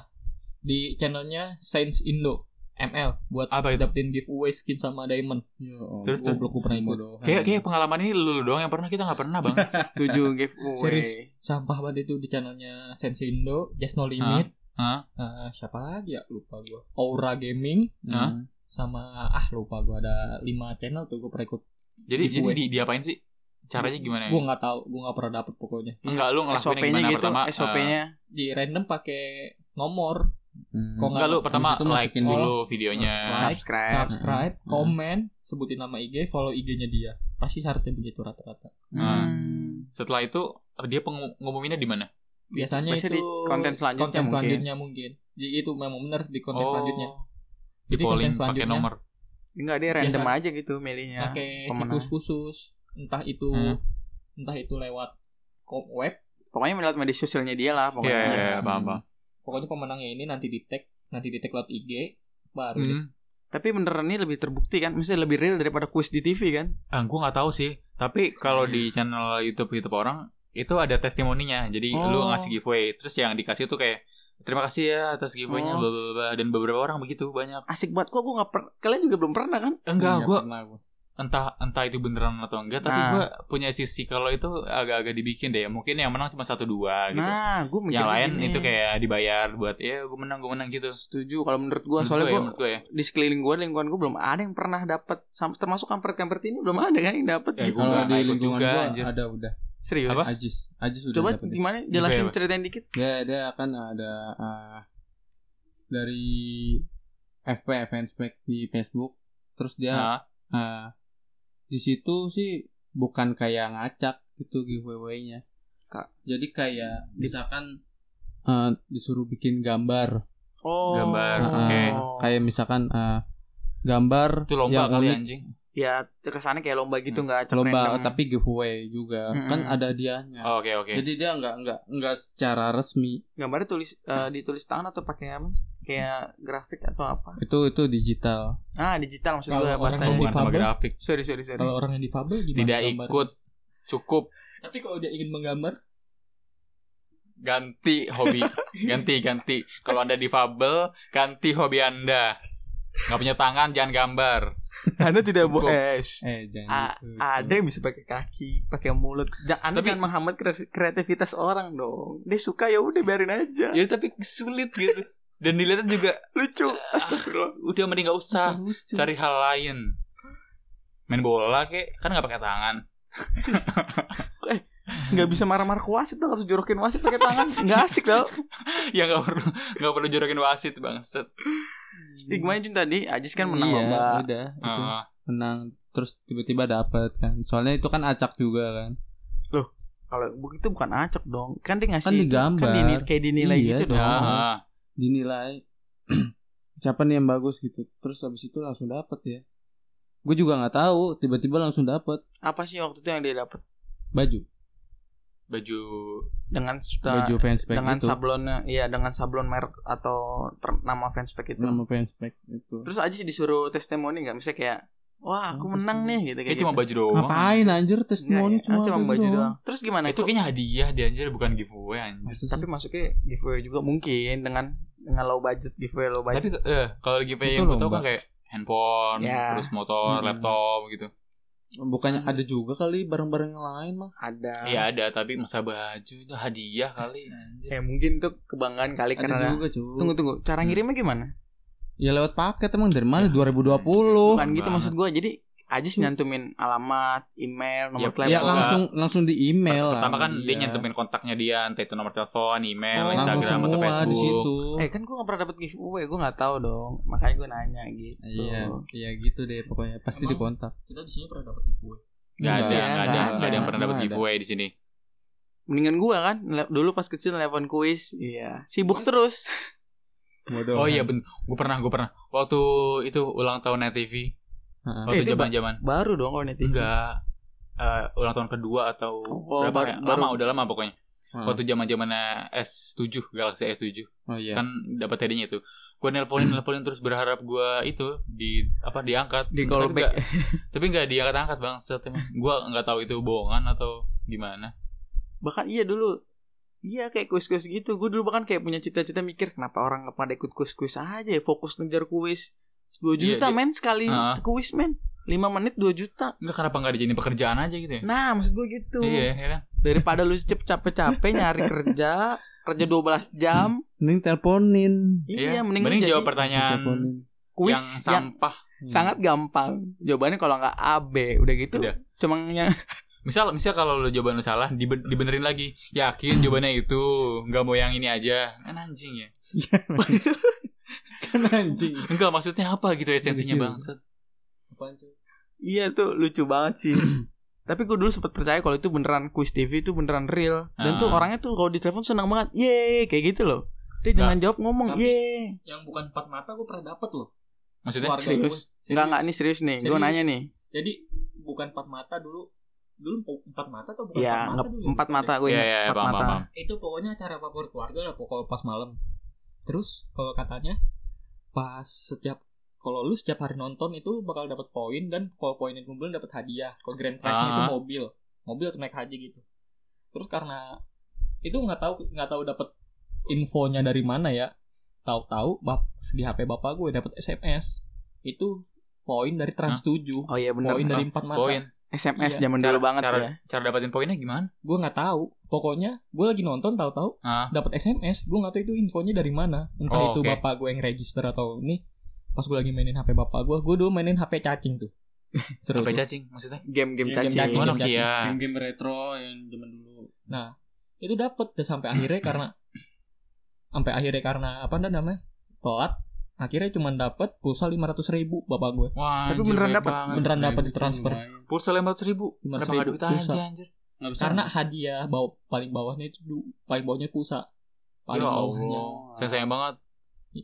A: di channelnya Sains Indo ML buat
C: Apa itu?
A: dapetin giveaway skin sama diamond.
B: Ya Allah,
C: Terus, terus.
B: goblok, gua pernah ikut.
C: Kayak, kayak pengalaman ini lu doang yang pernah kita nggak pernah bang.
D: 7 giveaway.
A: Serius? Sampah banget itu di channelnya Sains Indo, Just No Limit.
C: Hah?
A: Eh, siapa lagi ya? Lupa gue. Aura Gaming Hmm.
C: Hah?
A: sama ah lupa gue ada 5 channel tuh gue pernah ikut.
C: Jadi jadi
A: Giveaway.
C: di, diapain sih? Caranya gimana?
A: Gue nggak tahu, gue nggak pernah dapet pokoknya.
C: Enggak lu ngelakuin
D: SOP-nya
C: gimana
D: gitu,
C: pertama? eh,
D: SOP-nya.
A: Di random pakai nomor,
B: Hmm.
A: Kok
C: enggak lu
A: Habis
C: pertama
B: itu
C: like
B: masukin
C: dulu videonya.
D: Oh,
A: Like,
D: Eh. subscribe.
A: subscribe,
D: eh,
B: Hmm.
A: komen, sebutin nama IG, follow IG-nya dia. Pasti syaratnya begitu rata-rata.
D: Hmm.
C: Setelah itu dia peng- ngumuminnya di mana?
A: Biasanya
D: Biasanya
A: itu
D: di konten selanjutnya
A: konten
D: mungkin.
A: selanjutnya mungkin. Jadi itu memang benar di konten selanjutnya.
C: Oh, Di
A: Jadi konten
C: polling pakai
A: selanjutnya.
C: nomor.
D: Enggak dia random
A: Biasa.
D: aja gitu milihnya.
B: Ya,
A: Pakai
D: pemenang.
A: situs khusus, entah itu
C: Hmm.
A: entah itu lewat kom- web,
D: Pokoknya melihat media sosialnya dia lah
C: Iya,
D: pokoknya.
C: iya, iya, paham, paham.
A: pokoknya pemenangnya ini nanti di tag, nanti di tag lewat IG baru deh.
C: Hmm.
D: Tapi beneran ini lebih terbukti kan? Mesti lebih real daripada kuis di TV kan?
C: Ah, gue nggak tahu sih. Tapi kalau di channel YouTube YouTube orang itu ada testimoninya. Jadi lu
D: Oh.
C: ngasih giveaway, terus yang dikasih tuh kayak terima kasih ya atas giveaway-nya
D: Oh.
C: bla bla bla." dan beberapa orang begitu banyak.
D: Asik banget kok gue nggak per- kalian juga belum pernah kan?
B: Nggak
C: Enggak, gue
B: pernah gua.
C: entah entah itu beneran atau enggak, tapi
D: Nah.
C: gue punya sisi kalau itu agak-agak dibikin deh. Mungkin yang menang cuma satu dua gitu.
D: Nah, gue mikir
C: yang lain
D: begini.
C: itu kayak dibayar buat ya gue menang gue menang gitu.
D: setuju kalau menurut gue
C: Menurut
D: soalnya
C: gua ya,
D: gue
C: menurut gue ya.
D: di sekeliling gue lingkungan gue belum ada yang pernah dapat sam- termasuk kampret-kampret ini belum ada kan yang dapat
C: Ya, gua
D: gitu.
B: Kalau
C: nggak
B: di
C: ikut
B: lingkungan
C: juga,
B: gua
C: anjir.
B: ada udah.
D: Serius.
C: Apa?
B: Ajis, Ajis udah
D: Coba
B: dapet.
D: gimana jelasin
C: Oke,
D: ceritain dikit.
B: Ya, ada kan ada ah, dari FP Fanspec di Facebook. Terus dia
C: Nah,
B: ah, di situ sih bukan kayak ngacak gitu giveaway-nya. Kak, jadi kayak misalkan ah, disuruh bikin gambar.
D: Oh.
C: Gambar,
B: Ah,
C: oke.
B: Kayak misalkan ah, gambar
C: itu lomba
B: yang
C: kali ya,
B: unik
C: anjing.
D: ya kesannya kayak lomba gitu
B: Hmm.
D: nggak acak
B: lomba
D: random.
B: tapi giveaway juga
D: Mm-mm.
B: kan ada hadiahnya
C: Oh, Oke oke.
B: jadi dia nggak nggak nggak secara resmi
D: gambarnya tulis eh, ditulis tangan atau pakai apa sih? kayak grafik atau apa
B: itu itu digital
D: ah digital maksud
A: Kalau
D: gue
A: orang
D: bahasanya
A: yang
C: Bukan
A: difabel.
C: sama grafik.
D: sorry sorry sorry
A: Kalau orang yang difabel gimana?
C: Tidak
A: gambar?
C: ikut cukup
A: Tapi kalau dia ingin menggambar,
C: ganti hobi ganti ganti kalau anda difabel ganti hobi anda nggak punya tangan jangan gambar
D: anda tidak
C: Cukup.
D: boleh
B: eh jangan
C: Ah,
D: A-
B: gitu.
D: ada yang bisa pakai kaki pakai mulut Ja- anda
C: Tapi-
D: jangan menghambat kre- kreativitas orang dong dia suka ya udah biarin aja
C: ya tapi sulit gitu dan dilihat juga
D: lucu astagfirullah
C: udah mending nggak usah
B: lucu
C: Ah, cari hal lain main bola kek kan nggak pakai tangan
D: nggak bisa marah-marah ke wasit dong harus jorokin wasit pakai tangan nggak asik tau
C: ya nggak perlu nggak perlu jorokin wasit bangset
D: Ih, gimana Jun tadi Ajis kan menang
B: Iya,
D: lomba
B: udah itu
C: Ah,
B: menang terus tiba-tiba dapat kan soalnya itu kan acak juga kan
D: kalau begitu bukan acak dong kan dia ngasih
B: Kan
D: itu,
B: digambar.
D: dini- kayak dinilai
B: Iya
D: gitu
B: dong.
D: dong
C: ah.
B: dinilai siapa nih yang bagus gitu terus habis itu langsung dapat ya gue juga nggak tahu tiba-tiba langsung dapat
D: apa sih waktu itu yang dia dapat
B: baju
C: baju
D: dengan
B: baju gitu. fanspek
D: Nah, dengan
B: itu
D: sablonnya iya dengan sablon merek atau ter- nama fanspage itu
B: nama fanspek itu
D: terus aja disuruh testimoni nggak misalnya kayak wah aku
B: Apa
D: menang
B: sih?
D: nih gitu kayak
C: kayak cuma
D: gitu.
C: baju doang
B: ngapain anjir testimoni
D: Nggak, ya. Ah,
B: cuma,
D: cuma
B: gitu
D: baju doang terus gimana
C: Nah,
D: itu,
C: itu kayaknya hadiah dia anjir bukan giveaway anjir
B: Maksud
D: tapi masuknya giveaway juga mungkin dengan dengan low budget giveaway low
C: tapi
D: budget
C: eh kalau giveaway
B: Itu
C: yang gue tau
B: lomba.
C: kan kayak handphone
D: Ya.
C: terus motor
B: Hmm.
C: laptop gitu
B: Bukannya ada juga kali barang-barang yang lain mah.
D: ada
C: Iya ada tapi masa baju itu hadiah kali anjir.
D: ya mungkin tuh kebanggaan
B: Ada
D: kali karena
B: juga cuy.
D: tunggu tunggu cara
C: Hmm.
D: ngirimnya gimana
B: Ya lewat paket emang dari mana? 2020.
D: Iya. bukan gitu
C: banget.
D: maksud gua jadi Ajis nyantumin alamat email nomor
C: Hmm.
B: ya
C: Ya,
D: telepon
B: langsung langsung di email lah.
C: Pertama kan dia
B: Iya.
C: nyantumin kontaknya dia entah itu nomor telepon, email,
D: Oh,
B: langsung
C: Instagram atau
B: semua di
C: Facebook.
B: situ.
D: eh kan gua nggak pernah dapet giveaway gua nggak tahu dong makanya gua nanya gitu
B: Iya, iya gitu deh pokoknya pasti
A: Emang?
B: dikontak.
A: kita di sini pernah dapat giveaway.
C: Gak
B: Enggak,
C: ada, gak ada,
D: enggak
C: gak ada yang
D: ada,
C: pernah dapat
B: enggak ada.
C: giveaway di sini.
D: mendingan gua kan le- dulu pas kecil telepon kuis iya sibuk terus
B: Bodoh.
C: Oh iya, ben- gue pernah, gue pernah. Waktu itu ulang tahun Net TV,
B: Heeh. Eh,
C: waktu
D: itu
C: zaman zaman
D: baru dong kalau netizen
C: enggak eh, ulang tahun kedua atau
D: Oh,
C: berapa
D: baru-
C: ya?
D: baru.
C: lama udah lama pokoknya.
B: Hmm.
C: Waktu zaman zamannya S7, Galaxy S7
B: Oh iya.
D: Ya.
C: kan dapat hadiahnya itu. gue nelponin nelponin terus berharap gue itu di apa diangkat Tapi
D: Di callback.
C: nggak- tapi nggak diangkat angkat bang emang gue nggak tahu itu bohongan atau gimana
D: bahkan iya dulu iya kayak kuis-kuis gitu gue dulu bahkan kayak punya cita-cita mikir kenapa orang nggak pernah ikut kuis-kuis aja ya, fokus ngejar kuis 2
C: Iya,
D: juta
C: iya.
D: men sekali
C: Ah.
D: kuis men 5 menit 2 juta
C: nggak kenapa nggak dijadiin pekerjaan aja gitu ya
D: nah maksud gue gitu
C: iya ya kan
D: daripada lu cep capek-capek nyari kerja kerja 12 jam
B: Mending teleponin.
D: iya, mending, lu
C: mending
D: jadi ya.
C: jawab pertanyaan
B: Teleponin.
D: kuis
C: yang
D: yang,
C: sampah
B: Hmm.
D: sangat gampang jawabannya kalau nggak A B udah gitu
C: Udah.
D: cuma yang
C: misal misal kalau lo jawaban lo salah dibe- dibenerin lagi yakin jawabannya itu nggak mau yang ini aja kan anjing ya
B: kan anjing.
C: enggak maksudnya apa gitu esensinya
B: Disiru.
C: bangsat
A: Apaan cuy?
D: Iya tuh lucu banget sih. Tapi gue dulu sempat percaya kalau itu beneran quiz TV itu beneran real. Dan tuh
C: Ah.
D: orangnya tuh kalau di telepon senang banget. Ye, kayak gitu loh. Dia dengan jawab ngomong
A: Tapi-
D: ye.
A: Yang bukan empat mata gue pernah dapet loh.
C: maksudnya
A: Keluarga
D: serius?
A: gua.
D: Enggak enggak
A: Serius.
D: nih serius nih. Gue
A: Serius.
D: nanya nih.
A: Jadi bukan empat mata dulu. Dulu emp- empat mata atau bukan
D: Ya,
A: empat mata
D: nggak-
A: dulu? ya?
D: empat mata gue
C: Iya,
D: ingat,
C: iya,
D: empat
C: paham,
D: mata.
C: paham, paham.
A: Itu pokoknya acara favorit keluarga lah pokok pas malam. Terus kalau katanya pas setiap kalau lu setiap hari nonton itu bakal dapat poin dan kalau poinnya kumpul dapat hadiah. Kalau grand prize-nya itu
C: Ah.
A: mobil, mobil atau naik haji gitu. Terus karena itu nggak tahu nggak tahu dapat infonya dari mana ya. Tahu-tahu bap- di HP bapak gue dapat SMS. Itu poin dari Trans 7.
D: Oh iya bener.
A: Poin dari empat mata.
C: poin
D: SMS
A: Iya.
D: zaman
C: cara,
D: dulu banget
C: cara,
D: ya.
C: cara dapetin poinnya gimana
A: Gue nggak tahu. Pokoknya gue lagi nonton tahu-tahu
C: ah
A: dapat SMS gue nggak tahu itu infonya dari mana entah
C: Oh,
A: itu
C: oke.
A: bapak gue yang register atau ini pas gue lagi mainin HP bapak gue gue dulu mainin HP cacing tuh seru
C: apa
A: tuh.
C: cacing maksudnya
D: Game-game
A: Game-game
D: cacing.
A: cacing.
C: gimana ya?
A: jam
C: Nokia
B: Game-game retro yang zaman dulu.
A: itu dapet dan sampai akhirnya karena sampai akhirnya karena apa dah namanya telat akhirnya cuma dapet pulsa lima ratus ribu bapak gue
C: Wah,
D: Tapi
C: anjir,
D: beneran
C: banyak
D: dapet.
C: banget.
A: beneran
B: Nah,
A: dapet
B: itu
A: di transfer
B: lumayan.
C: Pulsa lima ratus ribu.
A: Lima
C: Kenapa
A: ribu
C: nggak duit aja
A: pulsa.
C: anjir?
B: Nggak bisa.
A: karena hadiah bawah, paling bawahnya itu du- paling bawahnya pulsa paling
C: ya
A: bawahnya
C: Allah, saya sayang banget.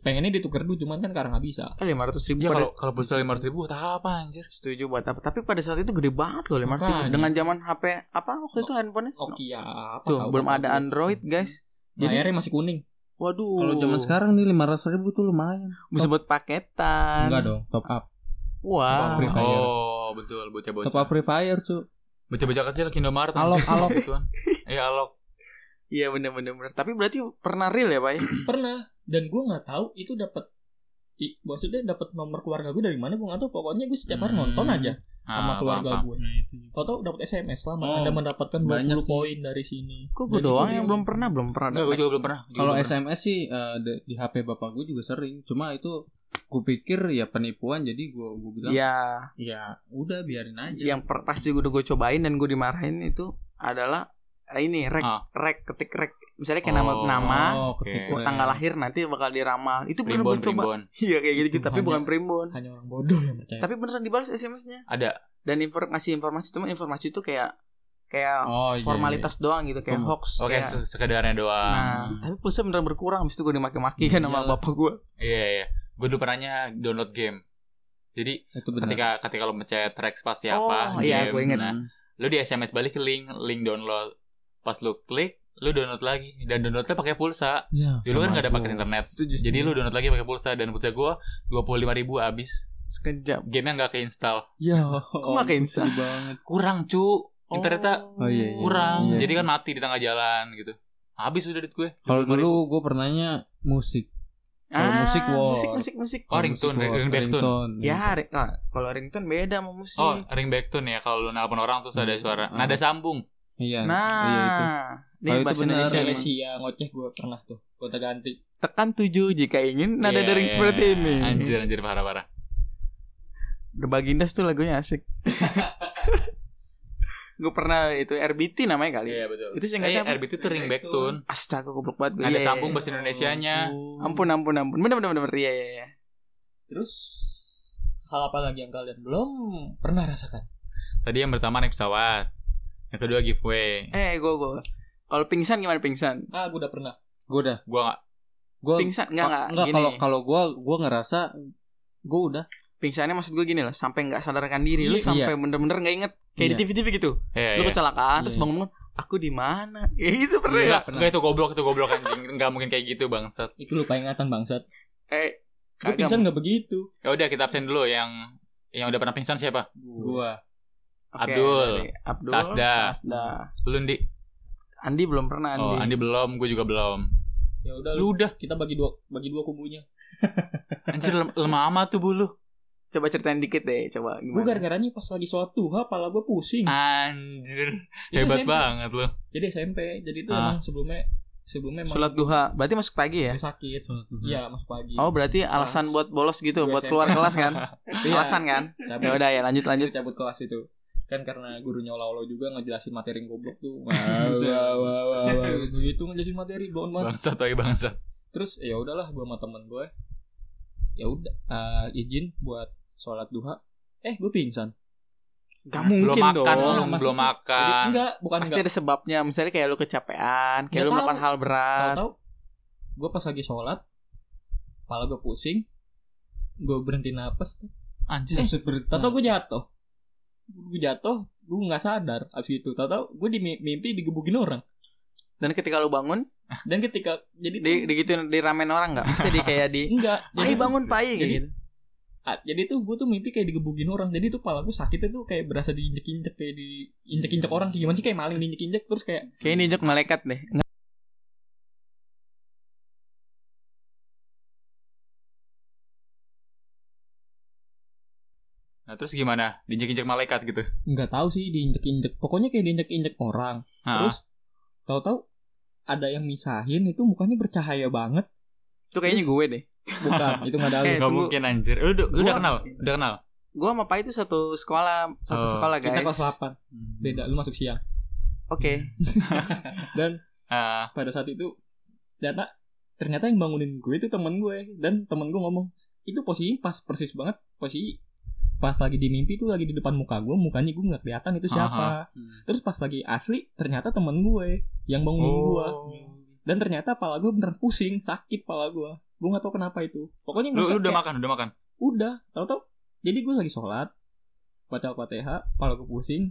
A: pengennya ditukar dulu cuman kan karena nggak bisa
D: Ah, 500
C: Ya
D: ribu pada-
C: kalau kalau pulsa lima ratus ribu, tak apa anjir?
D: setuju buat apa tapi pada saat itu gede banget loh 500 ribu
A: Makanya.
D: dengan zaman HP apa waktu itu handphonenya
A: Nokia apa
D: tuh
A: tahu
D: belum
A: bapak
D: ada
A: gue.
D: Android guys
A: layarnya masih kuning
D: waduh
B: Kalau zaman sekarang nih 500 ribu tuh lumayan.
D: bisa buat paketan
B: Enggak dong, top up.
D: wah
B: Free Fire.
C: Oh, betul bocah-bocah.
B: Top up Free Fire, cu.
C: Bocah-bocah kecil Kindomaret.
B: Alok,
C: anjir.
B: alok.
C: Gituan. Iya, alok.
D: Iya bener bener bener. Tapi berarti pernah real ya pak ya?
A: pernah dan gue nggak tahu itu dapat i- maksudnya dapat nomor keluarga gue dari mana gue nggak tahu pokoknya gue setiap hari
C: Hmm.
A: nonton aja sama
C: Ah,
A: keluarga
C: paham, paham.
A: gue tau tau dapat sms lama
B: Oh,
A: anda mendapatkan 20
B: banyak sih.
A: poin dari sini
D: Kok gue
A: Jadi
D: doang
A: gua
D: yang
A: bilang,
D: belum pernah belum pernah.
C: Enggak, gue juga belum pernah. Juga
B: Kalau
C: belum
B: SMS sih eh, di, di HP bapak gue juga sering. Cuma itu gue pikir ya penipuan jadi gue gue bilang
C: Iya.
B: ya.
D: Ya,
B: udah biarin aja.
D: yang per, pas juga udah gue cobain dan gue dimarahin itu adalah eh, ini rek
C: Ah.
D: rek ketik rek misalnya kayak
C: Oh.
D: nama nama
A: oh
C: Oke.
A: ketika
D: gua tanggal lahir nanti bakal diramal itu
C: pernah.
D: bener
C: Primbon,
D: gue coba
C: primbon.
D: iya kayak gitu, tapi
A: Hanya-
D: bukan primbon
A: hanya orang bodoh yang percaya
D: tapi beneran dibalas SMS-nya
C: Ada.
D: dan informasi informasi cuma informasi itu kayak kayak
B: Oh iya.
D: formalitas doang gitu kayak
B: Hmm.
D: hoax
C: iya. Oke,
D: kayak-
C: se- Ah. sekedarnya
D: nah
C: doang.
D: tapi pulsa beneran berkurang habis itu gue dimaki-maki kan sama
B: Iyalah.
D: bapak gue
C: Iya, iya. Gue dulu pernahnya download game. Jadi
B: Itu benar.
C: ketika ketika lo mencet track spasi
D: Oh,
C: apa,
D: iya,
C: game,
D: gua inget.
C: nah, lu di SMS balik ke link, link download. Pas lu klik, lu download lagi dan downloadnya pakai pulsa.
B: Ya,
C: Dulu kan
B: sama
C: nggak ada
B: gua.
C: pakai internet.
D: Setuju,
C: Jadi
D: setuju.
C: lu download lagi pakai pulsa dan pulsa gua 25.000 ribu habis.
D: sekejap
C: Gamenya nggak keinstal.
B: Ya,
A: Oh,
D: Kok makin
A: gitu.
B: sedih banget.
C: Kurang cu, internetnya
B: Oh, iya, iya.
C: kurang.
B: Iya
C: Jadi
B: sih.
C: kan mati di tengah jalan gitu. Habis udah duit gue.
B: Kalau dulu gue pernahnya musik. Kalau
D: Ah,
B: musik, wow. Hmm.
D: musik musik musik.
C: Oh,
B: Kalau
C: ringtone,
B: musik gua,
C: ring- ringtone.
B: ringtone.
D: Ya, ring, ah, kalau ringtone beda sama musik.
C: Oh, ringback tone ya kalau lu nelpon orang terus ada
B: Hmm.
C: suara
B: Ah.
C: nada sambung.
B: Iya.
D: nah,
B: iya itu.
D: ini
B: Kalau itu
D: bahasa
B: bener, emang.
D: Indonesia nih.
A: Malaysia ngoceh gue pernah tuh gue ganti
D: Tekan tujuh jika ingin nada
C: Iya,
D: daring
C: iya.
D: seperti ini.
C: Anjir anjir parah-parah.
D: The Bagindas tuh lagunya asik. gue pernah itu RBT namanya kali.
C: Iya, betul.
D: Itu
C: Eh,
D: singkatnya apa?
C: RBT itu ringback tone.
D: Astaga, goblok banget gue.
C: Nada
D: Iya, iya,
C: sambung
D: iya.
C: bahasa Indonesianya.
D: Ampun, ampun, ampun. Bener, bener, bener. Iya, iya, iya.
A: terus hal apa lagi yang kalian belum pernah rasakan
C: Tadi yang pertama naik pesawat. Yang kedua giveaway.
D: Eh, gue, gue. Kalau pingsan gimana pingsan?
A: ah gue udah pernah
B: Gue udah.
C: Gua nggak
B: Gue
D: Pingsan enggak enggak,
B: enggak
D: Ya gini.
B: kalau kalau gue gue ngerasa gue udah.
D: Pingsannya maksud gue gini loh, sampai enggak sadarkan diri lu
B: Iya.
D: sampai bener-bener enggak inget kayak
B: Iya.
D: di TV-TV gitu.
C: Iya, iya.
D: lu kecelakaan terus
B: Iya.
D: bangun bangun aku di mana ya itu pernah
C: Iya,
D: ya
B: pernah.
C: enggak itu goblok itu goblok anjing. Enggak mungkin kayak gitu bangsat.
A: itu lupa ingatan bangsat
D: eh
A: Gue
D: Kagak.
A: pingsan nggak begitu.
C: Ya udah kita absen dulu yang yang udah pernah pingsan siapa?
B: gua
D: Oke,
C: Abdul.
D: dari Abdul.
C: Sasda.
D: Sasda.
C: Lu Ndi.
D: Andi belum pernah Andi.
C: Oh, Andi belum, gue juga belum.
A: Ya udah lu udah kita bagi dua bagi dua kubunya.
C: Anjir lem- lemah amat tuh bulu.
D: Coba ceritain dikit deh, coba
A: Gue
D: gimana?
A: gara-garanya pas lagi sholat duha pala gue pusing.
D: Ah,
C: Anjir,
A: Itu
C: hebat
A: SMP.
C: banget lu.
A: Jadi SMP. Jadi itu
C: Ah.
A: emang sebelumnya sebelumnya emang
D: Sholat duha. Berarti masuk pagi ya?
A: gue sakit. Iya, masuk pagi.
D: Oh, berarti alasan
A: Kelas.
D: buat bolos gitu,
A: Dua
D: buat
A: SMA.
D: keluar kelas kan?
A: Iya.
D: Alasan kan?
A: Cabut,
D: Ya udah ya, lanjut lanjut.
A: cabut kelas itu. Kan karena gurunya olah-olah juga ngejelasin materi yang goblok tuh.
B: Bisa.
D: Iya,
A: Wah, wah, wah, wah, wah. Gitu ngejelasin materi blon banget.
C: Bangsat lagi bangsat.
A: terus ya udahlah gue sama temen gue ya udah eh, izin buat sholat duha eh gue pingsan
D: Gak
C: Belum
D: mungkin
C: makan,
D: dong.
C: lu,
B: masa
C: belum
B: sih?
A: Jadi,
C: makan.
A: enggak bukan
D: Ah, Pasti
A: enggak
D: ada sebabnya. Misalnya kayak lu kecapean, kayak
A: Nggak
D: lu
A: tahu.
D: melakukan hal berat.
A: tahu-tahu gue pas lagi sholat kepala gue pusing gue berhenti napas
C: Anjir.
A: tahu-tahu
D: Nah.
A: gue jatuh gue jatuh gue nggak sadar abis itu tahu-tahu gue di mimpi digebukin orang
D: Dan ketika lu bangun,
A: dan ketika jadi tuh,
D: di digituin diramein orang nggak? Mesti di kayak di
A: enggak jadi,
D: Pai bangun pai kayak
A: Jadi-
D: gitu.
A: ah, jadi tuh gue tuh mimpi kayak digebukin orang jadi tuh kepala gue sakitnya tuh kayak berasa diinjek-injek kayak diinjek-injek orang kayak gimana sih kayak maling diinjek-injek terus kayak
D: Kayak ninjek malaikat deh. Nggak-
C: Nah, terus gimana? Diinjek-injek malaikat gitu.
A: nggak tahu sih diinjek-injek pokoknya kayak diinjek-injek orang
D: Ah.
C: Nah,
A: terus tahu-tahu ada yang misahin itu mukanya bercahaya banget
D: Itu kayaknya gue deh.
A: bukan itu nggak ada
C: Gak
D: Eh, tunggu.
C: mungkin anjir. Lu, udah- lu udah
D: Gua-
C: kenal? Udah kenal?
D: Gue sama Pai itu satu sekolah, satu
C: Oh,
D: sekolah guys.
A: kita kelas 8 beda lu masuk siang
D: Oke.
C: Ah,
A: pada saat itu data ternyata yang bangunin gue itu temen gue dan temen gue ngomong itu posisi pas persis banget posisi pas lagi di mimpi tuh lagi di depan muka gue mukanya gue nggak kelihatan itu siapa terus pas lagi asli ternyata temen gue yang bangunin
C: Oh.
A: gue dan ternyata pala gue bener pusing sakit pala gue gue nggak tahu kenapa itu pokoknya
C: lu,
A: ngerasa
C: lu udah
A: kayak-
C: makan, udah makan.
A: udah tau tau jadi gue lagi sholat baca al-fatihah kepala gue pusing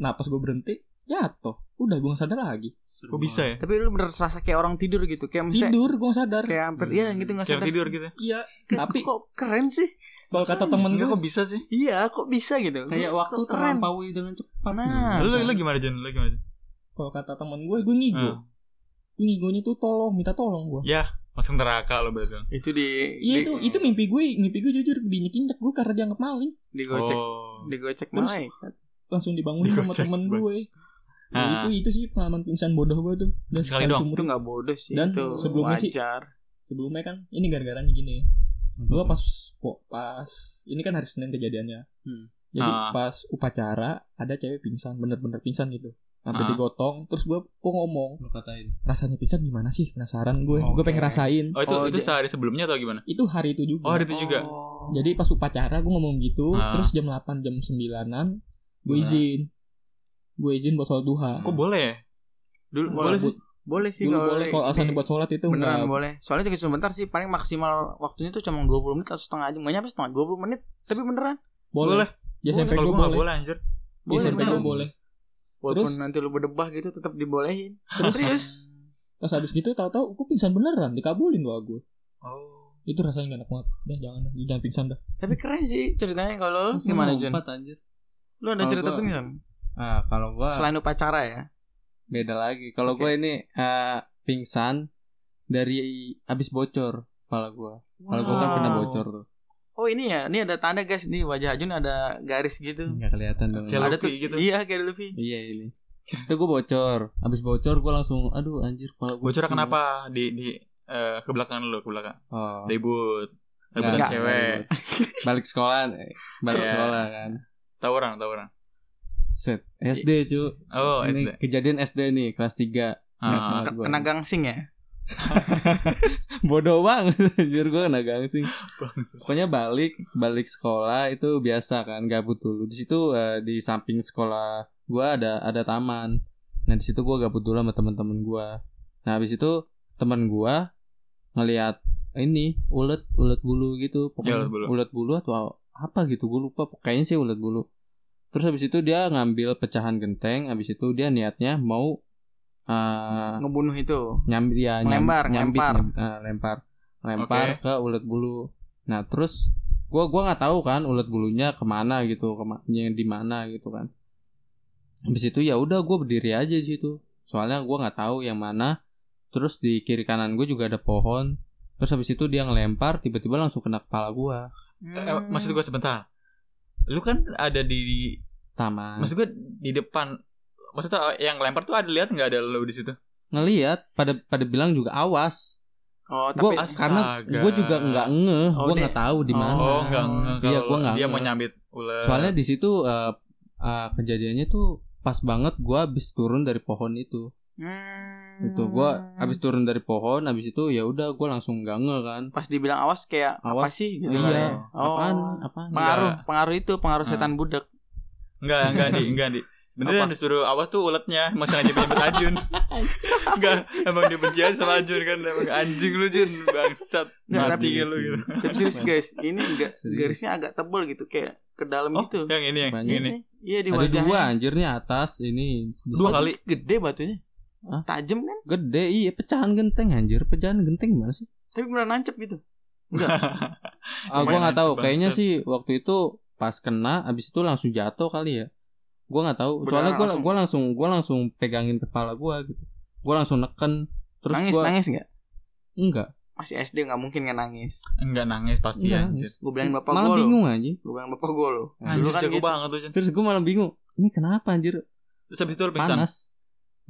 A: napas gue berhenti jatuh udah gue nggak sadar lagi
C: Kok bisa ya?
D: Tapi lu bener serasa kayak orang tidur gitu, kayak misalnya
A: tidur gue nggak sadar
D: kayak hampir ya gitu nggak
C: Cara
D: sadar.
C: tidur gitu.
A: iya
D: Kayak,
A: tapi
D: kok keren sih?
A: kalau kata temen
C: Enggak
A: gue
C: kok bisa sih?
D: Iya, kok bisa gitu?
B: kayak
D: Gua-
B: waktu
D: kok keren.
B: terlampaui dengan cepat
D: Nah.
C: Lu, lu gimana Jen? Lu gimana? Jen?
A: kalau kata temen gue gue ngigo
C: Ah.
A: gue ngigonya tuh tolong minta tolong gue
C: Masuk neraka lu berarti.
D: Itu di
A: iya
D: di-
A: itu itu mimpi gue mimpi gue jujur diinjek-injek gue karena dianggap maling
D: digocek,
C: Oh.
D: digocek
A: Terus-
D: malaikat.
A: langsung dibangunin sama
C: Digocek,
A: temen
C: Bang.
A: gue Ya,
C: Ah.
A: itu itu sih pengalaman pingsan bodoh gue tuh dan
C: Sekali doang.
A: seumur-
D: Itu nggak bodoh sih
A: Dan
D: itu.
A: sebelumnya sih-
D: wajar.
A: sebelumnya kan ini gara-garanya gini gue pas po- pas ini kan hari senin kejadiannya
D: Hmm.
A: jadi
C: Ah.
A: pas upacara ada cewek pingsan bener-bener pingsan gitu hampir
C: Ah.
A: digotong terus gue gue ngomong
B: lu katain
A: rasanya pingsan gimana sih penasaran gue gue
D: Oke.
A: pengen rasain
C: Oh, itu
D: Oh,
C: itu
D: ja-
C: sehari sebelumnya atau gimana?
A: itu hari itu juga
C: Oh, hari itu juga.
D: Oh.
A: jadi pas upacara gue ngomong gitu
C: Ah.
A: terus jam 8 jam 9an gue
C: Ah.
A: izin gue izin buat sholat duha
C: Kok boleh ya?
D: dulu
A: Dulu
D: boleh
A: bu-
D: sih. Boleh sih
A: dulu boleh kalau alasan buat sholat itu nggak-
D: Beneran boleh. Soalnya juga sebentar sih, paling maksimal waktunya tuh cuma 20 menit atau setengah jam. Nggak nyampe setengah, 20 menit. Tapi beneran.
A: boleh ya sampai
C: Kalau
A: gue
C: gua nggak
A: boleh
C: boleh anjir.
A: ya
D: Boleh,
A: sampai gue
D: beneran.
A: boleh
D: Walaupun
A: Terus?
D: nanti lu berdebah gitu tetap dibolehin. Terus?
A: pas habis gitu tahu-tahu gue pingsan beneran dikabulin doa gue
C: Oh.
A: itu rasanya gak enak banget dah jangan dah jangan pingsan dah
D: Tapi keren sih ceritanya kalau lu gimana Jon?
B: empat anjir
D: Lu ada
B: Kalau
D: cerita
B: gua-
D: pingsan?
B: ah kalau gua
D: Selain upacara ya.
B: beda lagi kalau gua ini eh, pingsan dari abis bocor kepala gua kalau gua kan
D: Wow.
B: pernah bocor tuh
D: Oh ini ya, ini ada tanda guys nih wajah Ajun ada garis gitu.
B: nggak kelihatan dong
C: Kayak
D: ada
C: Luffy gitu.
D: Iya kayak Luffy.
B: iya ini itu gua bocor abis bocor gua langsung aduh anjir kepala gua
C: Bocornya
B: pusing
C: kenapa di di eh, ke belakang lu, ke belakang.
B: banget. oh.
C: Ribut. Rebutan
B: Enggak,
C: cewek.
B: enggak ribut. Balik sekolah, eh, balik
C: Iya.
B: sekolah kan.
C: Tawuran, tawuran.
B: Set SD cu.
C: Iya. Oh,
B: ini
C: SD.
B: kejadian SD nih kelas 3
C: Ah.
B: Nah, gua.
D: Kena gangsing ya.
B: Bodoh banget anjir gua kena gangsing.
C: Bangsus.
B: Pokoknya balik balik sekolah itu biasa kan gabut dulu. Di situ eh, di samping sekolah gua ada ada taman. Nah, di situ gua gabut dulu sama teman-teman gua. Nah, habis itu teman gua ngelihat ini ulet ulet bulu gitu
C: Iya,
B: pokoknya
C: ulet bulu.
B: ulet bulu atau apa gitu gue lupa kayaknya sih ulet bulu terus habis itu dia ngambil pecahan genteng habis itu dia niatnya mau eh,
D: Ngebunuh itu.
B: nyambi ya
D: Melempar,
B: nyambi,
A: eh,
D: lempar.
B: lempar lempar lempar
C: Oke.
B: ke ulet bulu
A: Nah terus gua gua nggak tahu kan ulat bulunya kemana gitu, kema- yang di mana gitu kan. Habis itu ya udah gua berdiri aja di situ. Soalnya gua nggak tahu yang mana. Terus di kiri kanan gue juga ada pohon. Terus habis itu dia ngelempar tiba-tiba langsung kena kepala gua.
D: Hmm.
C: Eh, maksud gue sebentar lu kan ada di, di
A: Taman.
C: maksud gue di depan maksudnya eh, yang lempar tuh ada lihat nggak ada lu di situ
A: Ngeliat pada pada bilang juga awas.
D: Oh, tapi
A: Gua
C: astaga.
A: karena gua juga nggak ngeh,
D: Oh,
A: gua
D: dia-
A: nggak tahu di mana.
C: oh enggak, enggak.
A: Iya,
C: Kalau
A: gua nggak
C: dia mau
A: ngerti.
C: nyambit ular
A: Soalnya di situ eh, eh, kejadiannya tuh pas banget gua habis turun dari pohon itu.
D: Hmm.
A: Itu gua habis turun dari pohon, habis itu ya udah gua langsung nggak ngeh kan.
D: pas dibilang awas kayak apa
A: Awas.
D: sih gitu
A: Iya.
D: kan ya. Oh.
A: Apaan? Apaan?
D: Pengaruh, pengaruh itu pengaruh
C: Hmm.
D: setan budak.
C: enggak enggak di enggak di Beneran
D: Apa?
C: disuruh awas tuh ulatnya Emang sengaja nyebut Ajun Enggak Emang dibenci aja sama Ajun kan Emang anjing lu Jun Bangsat
D: Nggak,
C: Mati
A: tapi-
C: lu gitu
D: Tapi serius guys, ini ga-
A: Serius.
D: garisnya agak tebel gitu kayak ke dalam
C: Oh
D: gitu.
C: yang ini yang
A: Banyak.
C: ini
D: Iya di
A: Ada dua
D: wajahnya.
A: anjir nih atas ini
C: Dua kali
D: Gede batunya.
A: Hah?
D: Tajam kan?
A: gede iya pecahan genteng anjir pecahan genteng gimana sih?
D: Tapi beneran nancep gitu.
A: Ah gua nggak
C: Lumayan
A: tahu
C: sih,
A: kayaknya
C: bangsat.
A: sih waktu itu pas kena habis itu langsung jatuh kali ya. Gua nggak tahu.
D: Beneran
A: Soalnya gua
D: langsung.
A: gua langsung gua langsung pegangin kepala gua gitu. Gua langsung neken terus
D: nangis,
A: gua
D: nangis enggak?
A: enggak
D: Masih SD nggak mungkin nggak nangis.
C: Enggak nangis pasti
A: Iya,
C: anjir
D: Gue bilangin bapak
A: malah
D: gue loh.
A: bingung anjir
D: Gue bilangin bapak gue loh.
C: Anjir
D: Dulu kan
C: jago
D: gitu.
C: banget tuh Jun
A: terus gue malah bingung ini kenapa anjir
C: Terus habis itu lu pingsan
A: panas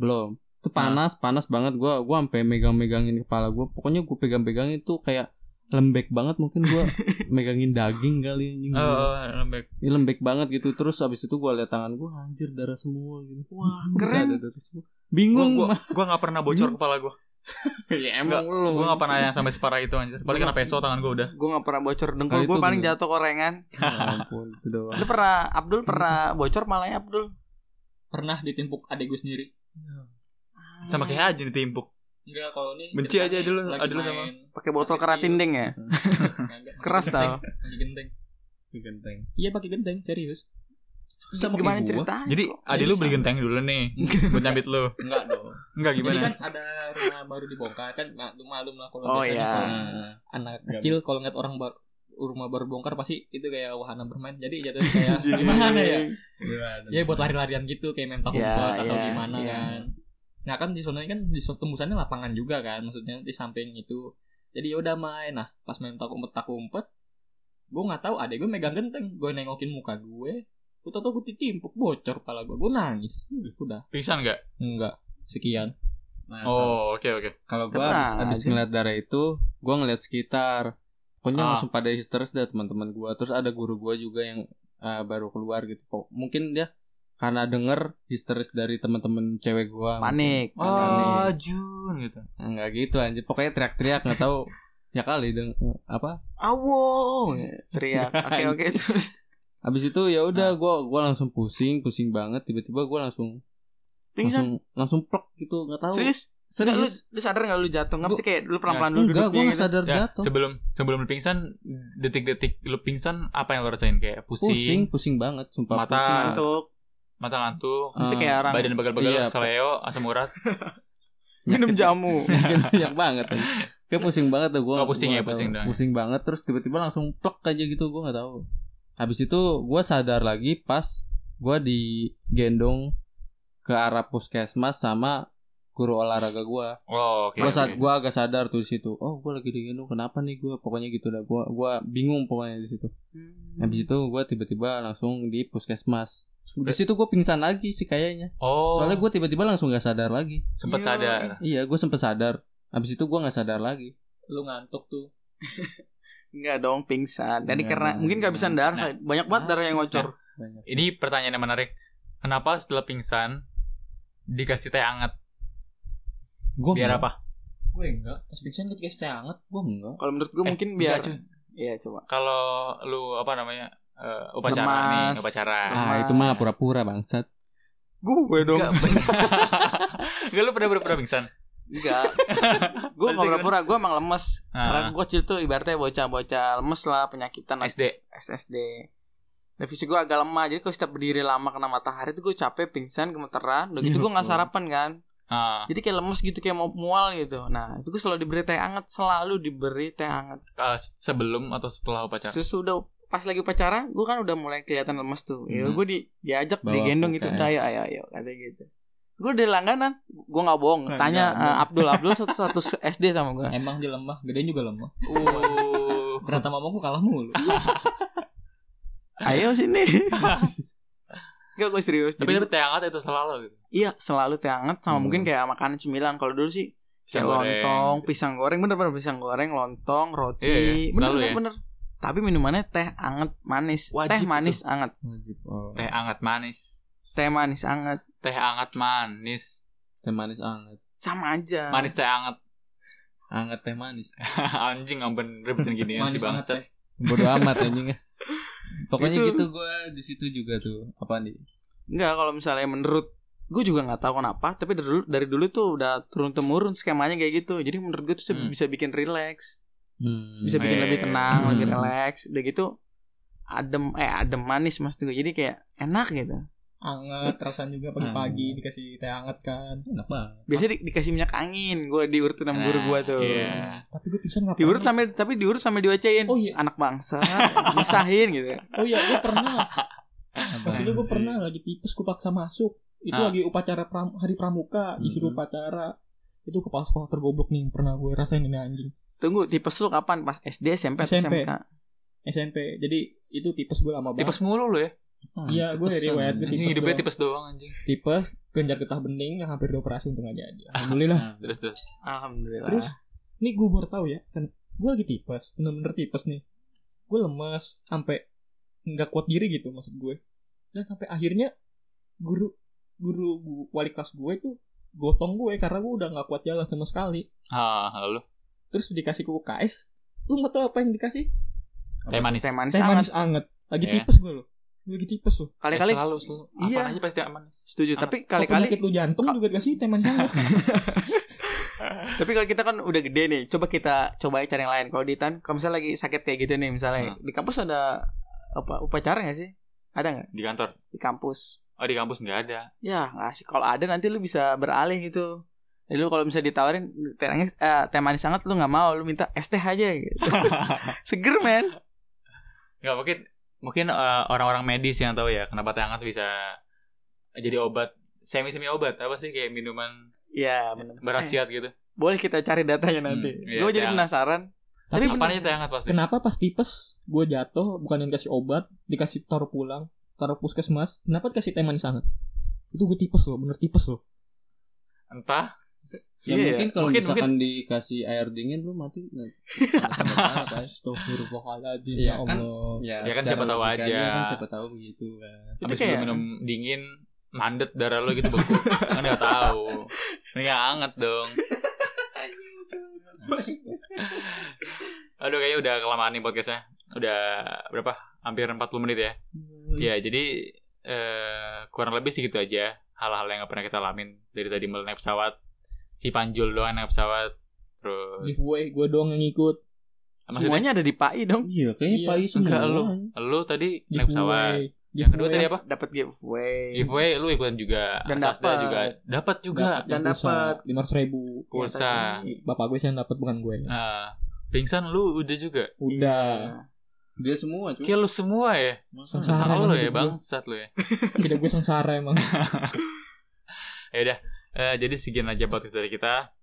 A: belum itu panas panas banget gue gua sampai megang-megangin kepala gue pokoknya gue pegang-pegang itu kayak lembek banget mungkin gue megangin daging kali ya, anjing
C: Oh, oh, lembek
A: Ini lembek banget gitu terus abis itu gue liat tangan gue anjir darah semua gitu
D: Wah,
A: Bisa
D: keren.
A: ada darah semua bingung
C: Gua- gua gua nggak pernah bocor kepala gua
A: ya, emang lu
C: gua nggak pernah yang sampai separah itu anjir paling kena peso tangan gua udah
D: Gue gak pernah bocor dengkul
A: Kali
D: Gue
A: itu
D: paling
A: bener.
D: jatuh korengan
A: Ya ampun itu doang
D: Lu pernah Abdul pernah bocor malah ya Abdul
E: Pernah ditimpuk adik gue sendiri.
A: Iya.
C: sama kayak Ajun ditimpuk
E: Enggak kalau ini
C: Benci aja
E: ceritanya
C: dulu,
E: lagi
C: ada dulu sama.
E: main-
D: pakai botol keratin deng ya
E: Enggak, enggak, pakai
D: Keras
E: genteng,
D: tau
E: Pakai genteng. Iya pakai genteng serius.
A: sama
D: Gimana
A: kayak gua.
D: ceritanya
C: jadi
D: kok?
C: adik lu beli genteng dulu nih buat nyambit lu
E: Enggak dong.
C: enggak
E: Jadi
C: gimana
E: kan ada rumah baru dibongkar kan malum malum lah kalau
D: Oh,
E: biasanya
D: iya.
E: kalau
C: Ah.
E: anak kecil kalau ngeliat orang baru rumah baru bongkar pasti itu kayak wahana bermain jadi jatuh kayak gimana ya ya
C: Iya.
E: buat lari-larian gitu kayak main tahu
D: Ya,
E: buat atau
D: ya,
E: gimana
D: ya.
E: kan nah kan di sana kan di tembusannya lapangan juga kan maksudnya di samping itu jadi yaudah main nah pas main tak umpet tak umpet gue nggak tahu adek gue megang genteng gue nengokin muka gue gue tau gue ditimpuk bocor kepala gue gue nangis udah
C: pingsan nggak
E: enggak sekian
A: Nah,
C: oh oke oke
A: Kalau gua
D: Tenang
A: abis, abis
D: aja.
A: ngeliat darah itu, gua ngeliat sekitar. Pokoknya
C: Ah.
A: langsung pada histeris dah teman-teman gua. Terus ada guru gua juga yang eh, baru keluar gitu. Pok- Mungkin dia karena denger histeris dari teman-teman cewek gua.
D: panik
C: Ah, Jun gitu.
A: Enggak gitu anjir. Pokoknya teriak-teriak nggak tahu ya kali deng apa.
D: awo teriak oke oke terus
A: Abis itu ya
C: Ah.
A: udah gua gua langsung pusing, pusing banget. Tiba-tiba gua langsung
D: pingsan
A: langsung langsung plek gitu, nggak tahu.
D: serius Nggak, lu,
A: Serius? Ya,
D: lu sadar gak lu jatuh nggak sih kayak lu pelan pelan dulu
A: Enggak, gua
D: duduknya
A: nggak
D: gitu.
A: sadar
C: Ya,
A: jatuh.
C: sebelum sebelum lu pingsan, detik-detik lu pingsan apa yang lu rasain kayak pusing,
A: Pusing, pusing banget, sumpah
C: Mata
A: pusing.
D: ngantuk
C: mata ngantuk,
D: mesti
A: Ah,
D: kayak orang
C: badan
A: Iya,
C: bagal-bagal,
A: Pak.
C: seleo, asam urat.
D: minum jamu
A: Mungkin Gitu, banyak banget kayak pusing banget tuh gue
C: Oh, pusing ya, pusing doang.
A: pusing banget terus tiba-tiba langsung plek aja gitu gue nggak tahu habis itu gue sadar lagi pas gue digendong ke arah puskesmas sama guru olahraga gue
C: Oh, oke.
A: gue
C: oke.
A: saat gua agak sadar tuh di situ oh gue lagi digendong kenapa nih gue pokoknya gitu dah gue gua bingung pokoknya di situ habis itu gue tiba-tiba langsung di puskesmas di situ gue pingsan lagi sih kayaknya
C: Oh,
A: soalnya gue tiba-tiba langsung nggak sadar lagi
C: sempet
D: Iya.
C: sadar.
A: Iya, gue sempet sadar. Abis itu gue nggak sadar lagi.
E: lu ngantuk tuh
D: Enggak dong pingsan tadi
A: Iya,
D: karena
A: iya.
D: mungkin kehabisan darah banyak banget darah yang ngocor
A: Banyak.
C: Ini pertanyaan yang menarik. Kenapa setelah pingsan dikasih teh hangat?
A: Gue
C: Biar apa?
E: gue enggak pas pingsan gue dikasih teh hangat
A: Gue enggak.
D: kalau menurut gue
C: Eh,
D: mungkin
C: enggak,
D: biar
C: Jun.
D: Iya coba
C: Kalau lu apa namanya? eh, upacara nih,
D: Lemas.
C: upacara.
D: Ah,
A: Ah, itu mah pura-pura bangsat.
D: Gue dong
C: Enggak Enggak, lu pernah pernah pingsan?
D: Enggak. gue
C: Maksudnya
D: nggak pura-pura, gue emang lemes.
C: Ah.
D: Karena gue kecil tuh ibaratnya bocah-bocah lemes lah penyakitan lah,
C: SD.
D: SSD. Dan fisik gue agak lemah, jadi kalau setiap berdiri lama kena matahari tuh gue capek, pingsan, gemeteran. Udah gitu gue nggak
A: Iya, betul.
D: sarapan kan.
C: Ah,
D: jadi kayak lemes gitu kayak mau mual gitu nah itu gue selalu diberi teh hangat selalu diberi teh hangat
C: eh, sebelum atau setelah upacara?
D: sesudah pas lagi pacaran gue kan udah mulai kelihatan lemes tuh ya
C: Hmm.
D: gue di diajak
B: Bawa
D: digendong gitu
B: PKS.
D: udah ayo ayo ayo katanya gitu gue dari langganan gue nggak bohong
A: Nah,
D: tanya
A: enggak,
D: eh, Abdul Abdul satu satu SD sama gue
A: Emang dia lemah, gedein juga lemah.
C: Uh,
A: Ternyata mamaku kalah mulu.
D: ayo sini Gak gue serius
C: tapi itu
D: Jadi-
C: teh hangat itu selalu gitu.
D: Iya selalu teh hangat sama
B: Hmm.
D: mungkin kayak makanan cemilan kalau dulu sih
C: Pisang
D: kayak
C: goreng.
D: lontong, pisang goreng bener-bener pisang goreng, lontong, roti,
C: Iya, iya,
D: bener,
C: selalu
D: bener,
C: ya.
D: bener. Tapi minumannya teh anget manis,
C: Wajib
D: teh
C: itu.
D: manis anget,
B: Wajib. Oh.
A: Eh.
C: Teh hangat manis.
D: teh manis anget,
C: Teh hangat manis.
B: Teh manis anget.
D: sama aja.
C: Manis teh hangat.
B: Anget teh manis.
C: Anjing amben rebutin gini ya si
A: Manis banget teh.
C: bangsat.
B: Bodoh amat anjingnya. Pokoknya
D: Itu-
B: gitu gua di situ juga tuh. Apa nih?
D: Enggak kalau misalnya menurut gue juga nggak tahu kenapa, tapi dari dulu, dari dulu tuh udah turun temurun skemanya kayak gitu. Jadi menurut gue tuh
C: Hmm.
D: bisa bikin relax,
B: Hmm.
D: bisa bikin
C: Eh.
D: lebih tenang,
B: Hmm.
D: lebih relax. Udah gitu adem eh adem manis mas gue. Jadi kayak enak gitu.
A: Anget, rasanya juga pagi-pagi dikasih teh anget kan. Enak banget.
D: Biasanya di- dikasih minyak angin, gue diurut sama guru
C: Nah,
D: gue tuh.
C: Iya.
A: Tapi gue pingsan nggak
D: diurut
A: pernah.
D: sampai tapi diurut sampai diocein
A: Oh iya,
D: anak bangsa misahin gitu
A: oh iya, gue pernah.
B: Apa?
A: Dulu gue pernah lagi tipes, gue paksa masuk. Itu
C: Ah.
A: lagi upacara pram- hari pramuka, disuruh
B: Mhm.
A: upacara. Itu kepala sekolah tergoblok nih, yang pernah gue rasain ini anjing.
D: tunggu tipes lu kapan pas SD SMP atau
A: SMP.
D: SMK
A: SMP. Jadi itu tipes gue lama banget.
C: Tipes mulu lu ya.
B: Ah,
A: Iya, gue dari
B: kepesan.
A: wet, gue
C: Anjing
A: Tipes
C: hidupnya
A: doang.
C: tipes doang anjing.
A: Tipes, kejar getah bening yang hampir dioperasi untung aja aja.
C: Ah.
A: Alhamdulillah.
C: Nah, Terus terus.
D: alhamdulillah
A: Terus ini gue baru tahu ya, kan gue lagi tipes, bener-bener tipes nih. Gue lemas sampai nggak kuat diri gitu maksud gue. Dan sampai akhirnya guru guru gu- wali kelas gue tuh gotong gue karena gue udah nggak kuat jalan sama sekali.
C: Ah, lalu
A: Terus dikasih ke UKS, lu mau tau apa yang dikasih?
C: teh manis.
D: teh manis
A: Teh
D: hangat
A: manis anget. Lagi
C: Iya.
A: tipes gue loh. Gue lagi tipes loh.
C: Eh,
D: kali-kali
C: selalu selalu.
D: Iya.
C: Apa aja pasti teh manis.
D: setuju
C: Hangat.
D: tapi
A: Kalau
D: kali-kali
A: penyakit lu jantung juga dikasih teh manis anget.
D: tapi kalau kita kan udah gede nih coba kita coba cari yang lain kalau di tan kalau misalnya lagi sakit kayak gitu nih
C: Hmm.
D: misalnya di kampus ada apa upacara nggak sih ada nggak
C: Di kantor.
D: di kampus
C: Oh, di kampus nggak ada.
D: ya nggak sih kalau ada nanti lu bisa beralih gitu Jadi lu kalau misalnya ditawarin teh manis, eh, teh manis hangat lu nggak mau lu minta es teh aja gitu. seger men
C: Nggak mungkin mungkin eh, orang-orang medis yang tahu ya kenapa teh hangat bisa jadi obat semi semi obat apa sih kayak minuman
D: ya bener.
A: Eh.
C: berasiat gitu.
D: Boleh kita cari datanya nanti.
C: Hmm, iya,
D: gue jadi
C: iya.
D: penasaran. Tapi
A: Tapi
C: Apa aja
D: bener.
C: teh hangat pasti.
A: Kenapa pas tipes gue jatuh bukan yang dikasih obat, dikasih taruh pulang, taruh puskesmas, kenapa dikasih teh manis hangat? Itu gue tipes loh, bener tipes loh.
C: Entah.
B: Ya,
D: Iya,
B: mungkin kalau
C: mungkin,
B: misalkan dikasih air dingin lu mati. nggak-
A: Astagfirullahaladzim
B: Iya,
A: ya
B: kan?
A: Allah.
C: Ya kan
B: secara
C: siapa tahu
B: logikanya
C: aja.
B: Kan siapa tahu begitu kan.
D: Itu
C: Habis
D: kayak
C: lu minum dingin mandet darah lo gitu beku. kan nggak tahu. Ini nggak hangat dong. Aduh kayaknya udah kelamaan nih podcastnya. Udah berapa? Hampir 40 menit ya.
D: Hmm.
C: Ya jadi eh, kurang lebih segitu aja hal-hal yang gak pernah kita alamin dari tadi mulai naik pesawat. Si Panjul doang naik pesawat. Terus
A: giveaway gue eh, doang yang ngikut.
C: maksudnya
D: Semuanya ada di PAI dong.
B: Iya, kayaknya
A: Iya.
B: Pak Is semua.
C: Enggak, lu tadi naik pesawat.
A: Giveaway.
C: Yang kedua tadi apa?
D: Dapat giveaway.
C: Giveaway lu ikutan juga.
D: Dan
C: Sasda
D: dapet.
C: juga. Dapat juga.
D: Dan dapat.
A: lima ribu.
C: Pulsa.
A: Bapak gue sih yang dapat bukan gue.
B: Iya.
C: Eh, pingsan lu udah juga.
A: Udah.
D: Nah,
B: Dia semua cuy.
C: Kayak lu semua ya.
B: Masa?
A: Sengsara
C: Sengsara lu
A: emang
C: ya
A: hidup gua.
C: bangsat lu ya.
A: Tidak gue sengsara emang.
C: Ya udah, eh, jadi sekian aja podcast dari kita.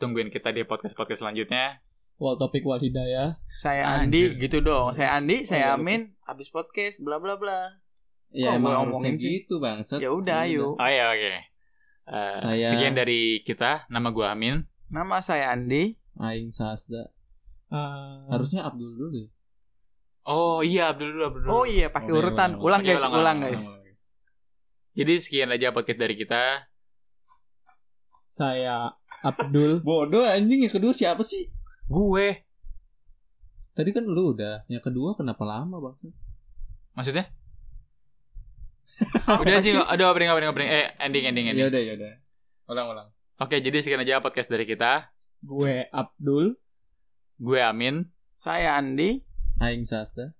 C: Tungguin kita di podcast-podcast selanjutnya.
A: Wal topik wal hidayah.
D: Saya
C: Ah,
D: Andi
C: Anjir.
D: gitu dong. Saya
A: Oh,
D: Andi, saya
A: iya, lupa.
D: Amin, habis podcast bla bla bla.
B: Ya emang
D: Kok
B: harusnya
D: gua ngomongin sih?
B: gitu bangsat.
D: Ya udah yuk.
C: Oh ya oke. Eh,
B: Saya-
C: Sekian dari kita. Nama gua Amin.
D: Nama saya Andi.
B: Aing Sasda.
A: Ah,
B: Harusnya Abdul dulu deh.
C: Oh iya Abdul dulu Abdul. dulu.
D: Oh iya, pakai
B: Oke,
D: urutan. Ulang
B: ulang,
D: guys,
C: Ulang,
D: ulang
C: ulang,
D: guys.
C: Jadi sekian aja podcast dari kita.
A: Saya Abdul.
B: Bodoh anjing yang kedua siapa sih?
C: Gue.
B: Tadi kan lu udah. Yang kedua kenapa lama bangsat?
C: Maksudnya? udah sih, aduh opening opening opening. Eh ending ending ending.
B: Ya udah ya udah. Ulang ulang.
C: Oke, jadi sekian aja podcast dari kita.
A: gue Abdul.
C: Gue Amin.
D: Saya Andi,
B: Aing Sasda.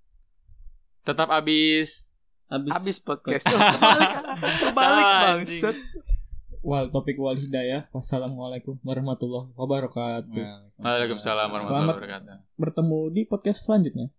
C: Tetap abis.
B: Abis.
D: habis podcast. Terbalik, terbalik
C: Salah,
D: bangset.
A: wal topik wal hidayah. Wassalamualaikum warahmatullahi wabarakatuh.
B: Waalaikumsalam.
C: Waalaikumsalam warahmatullahi Iya.
A: Selamat.
C: wabarakatuh.
A: Bertemu di podcast selanjutnya.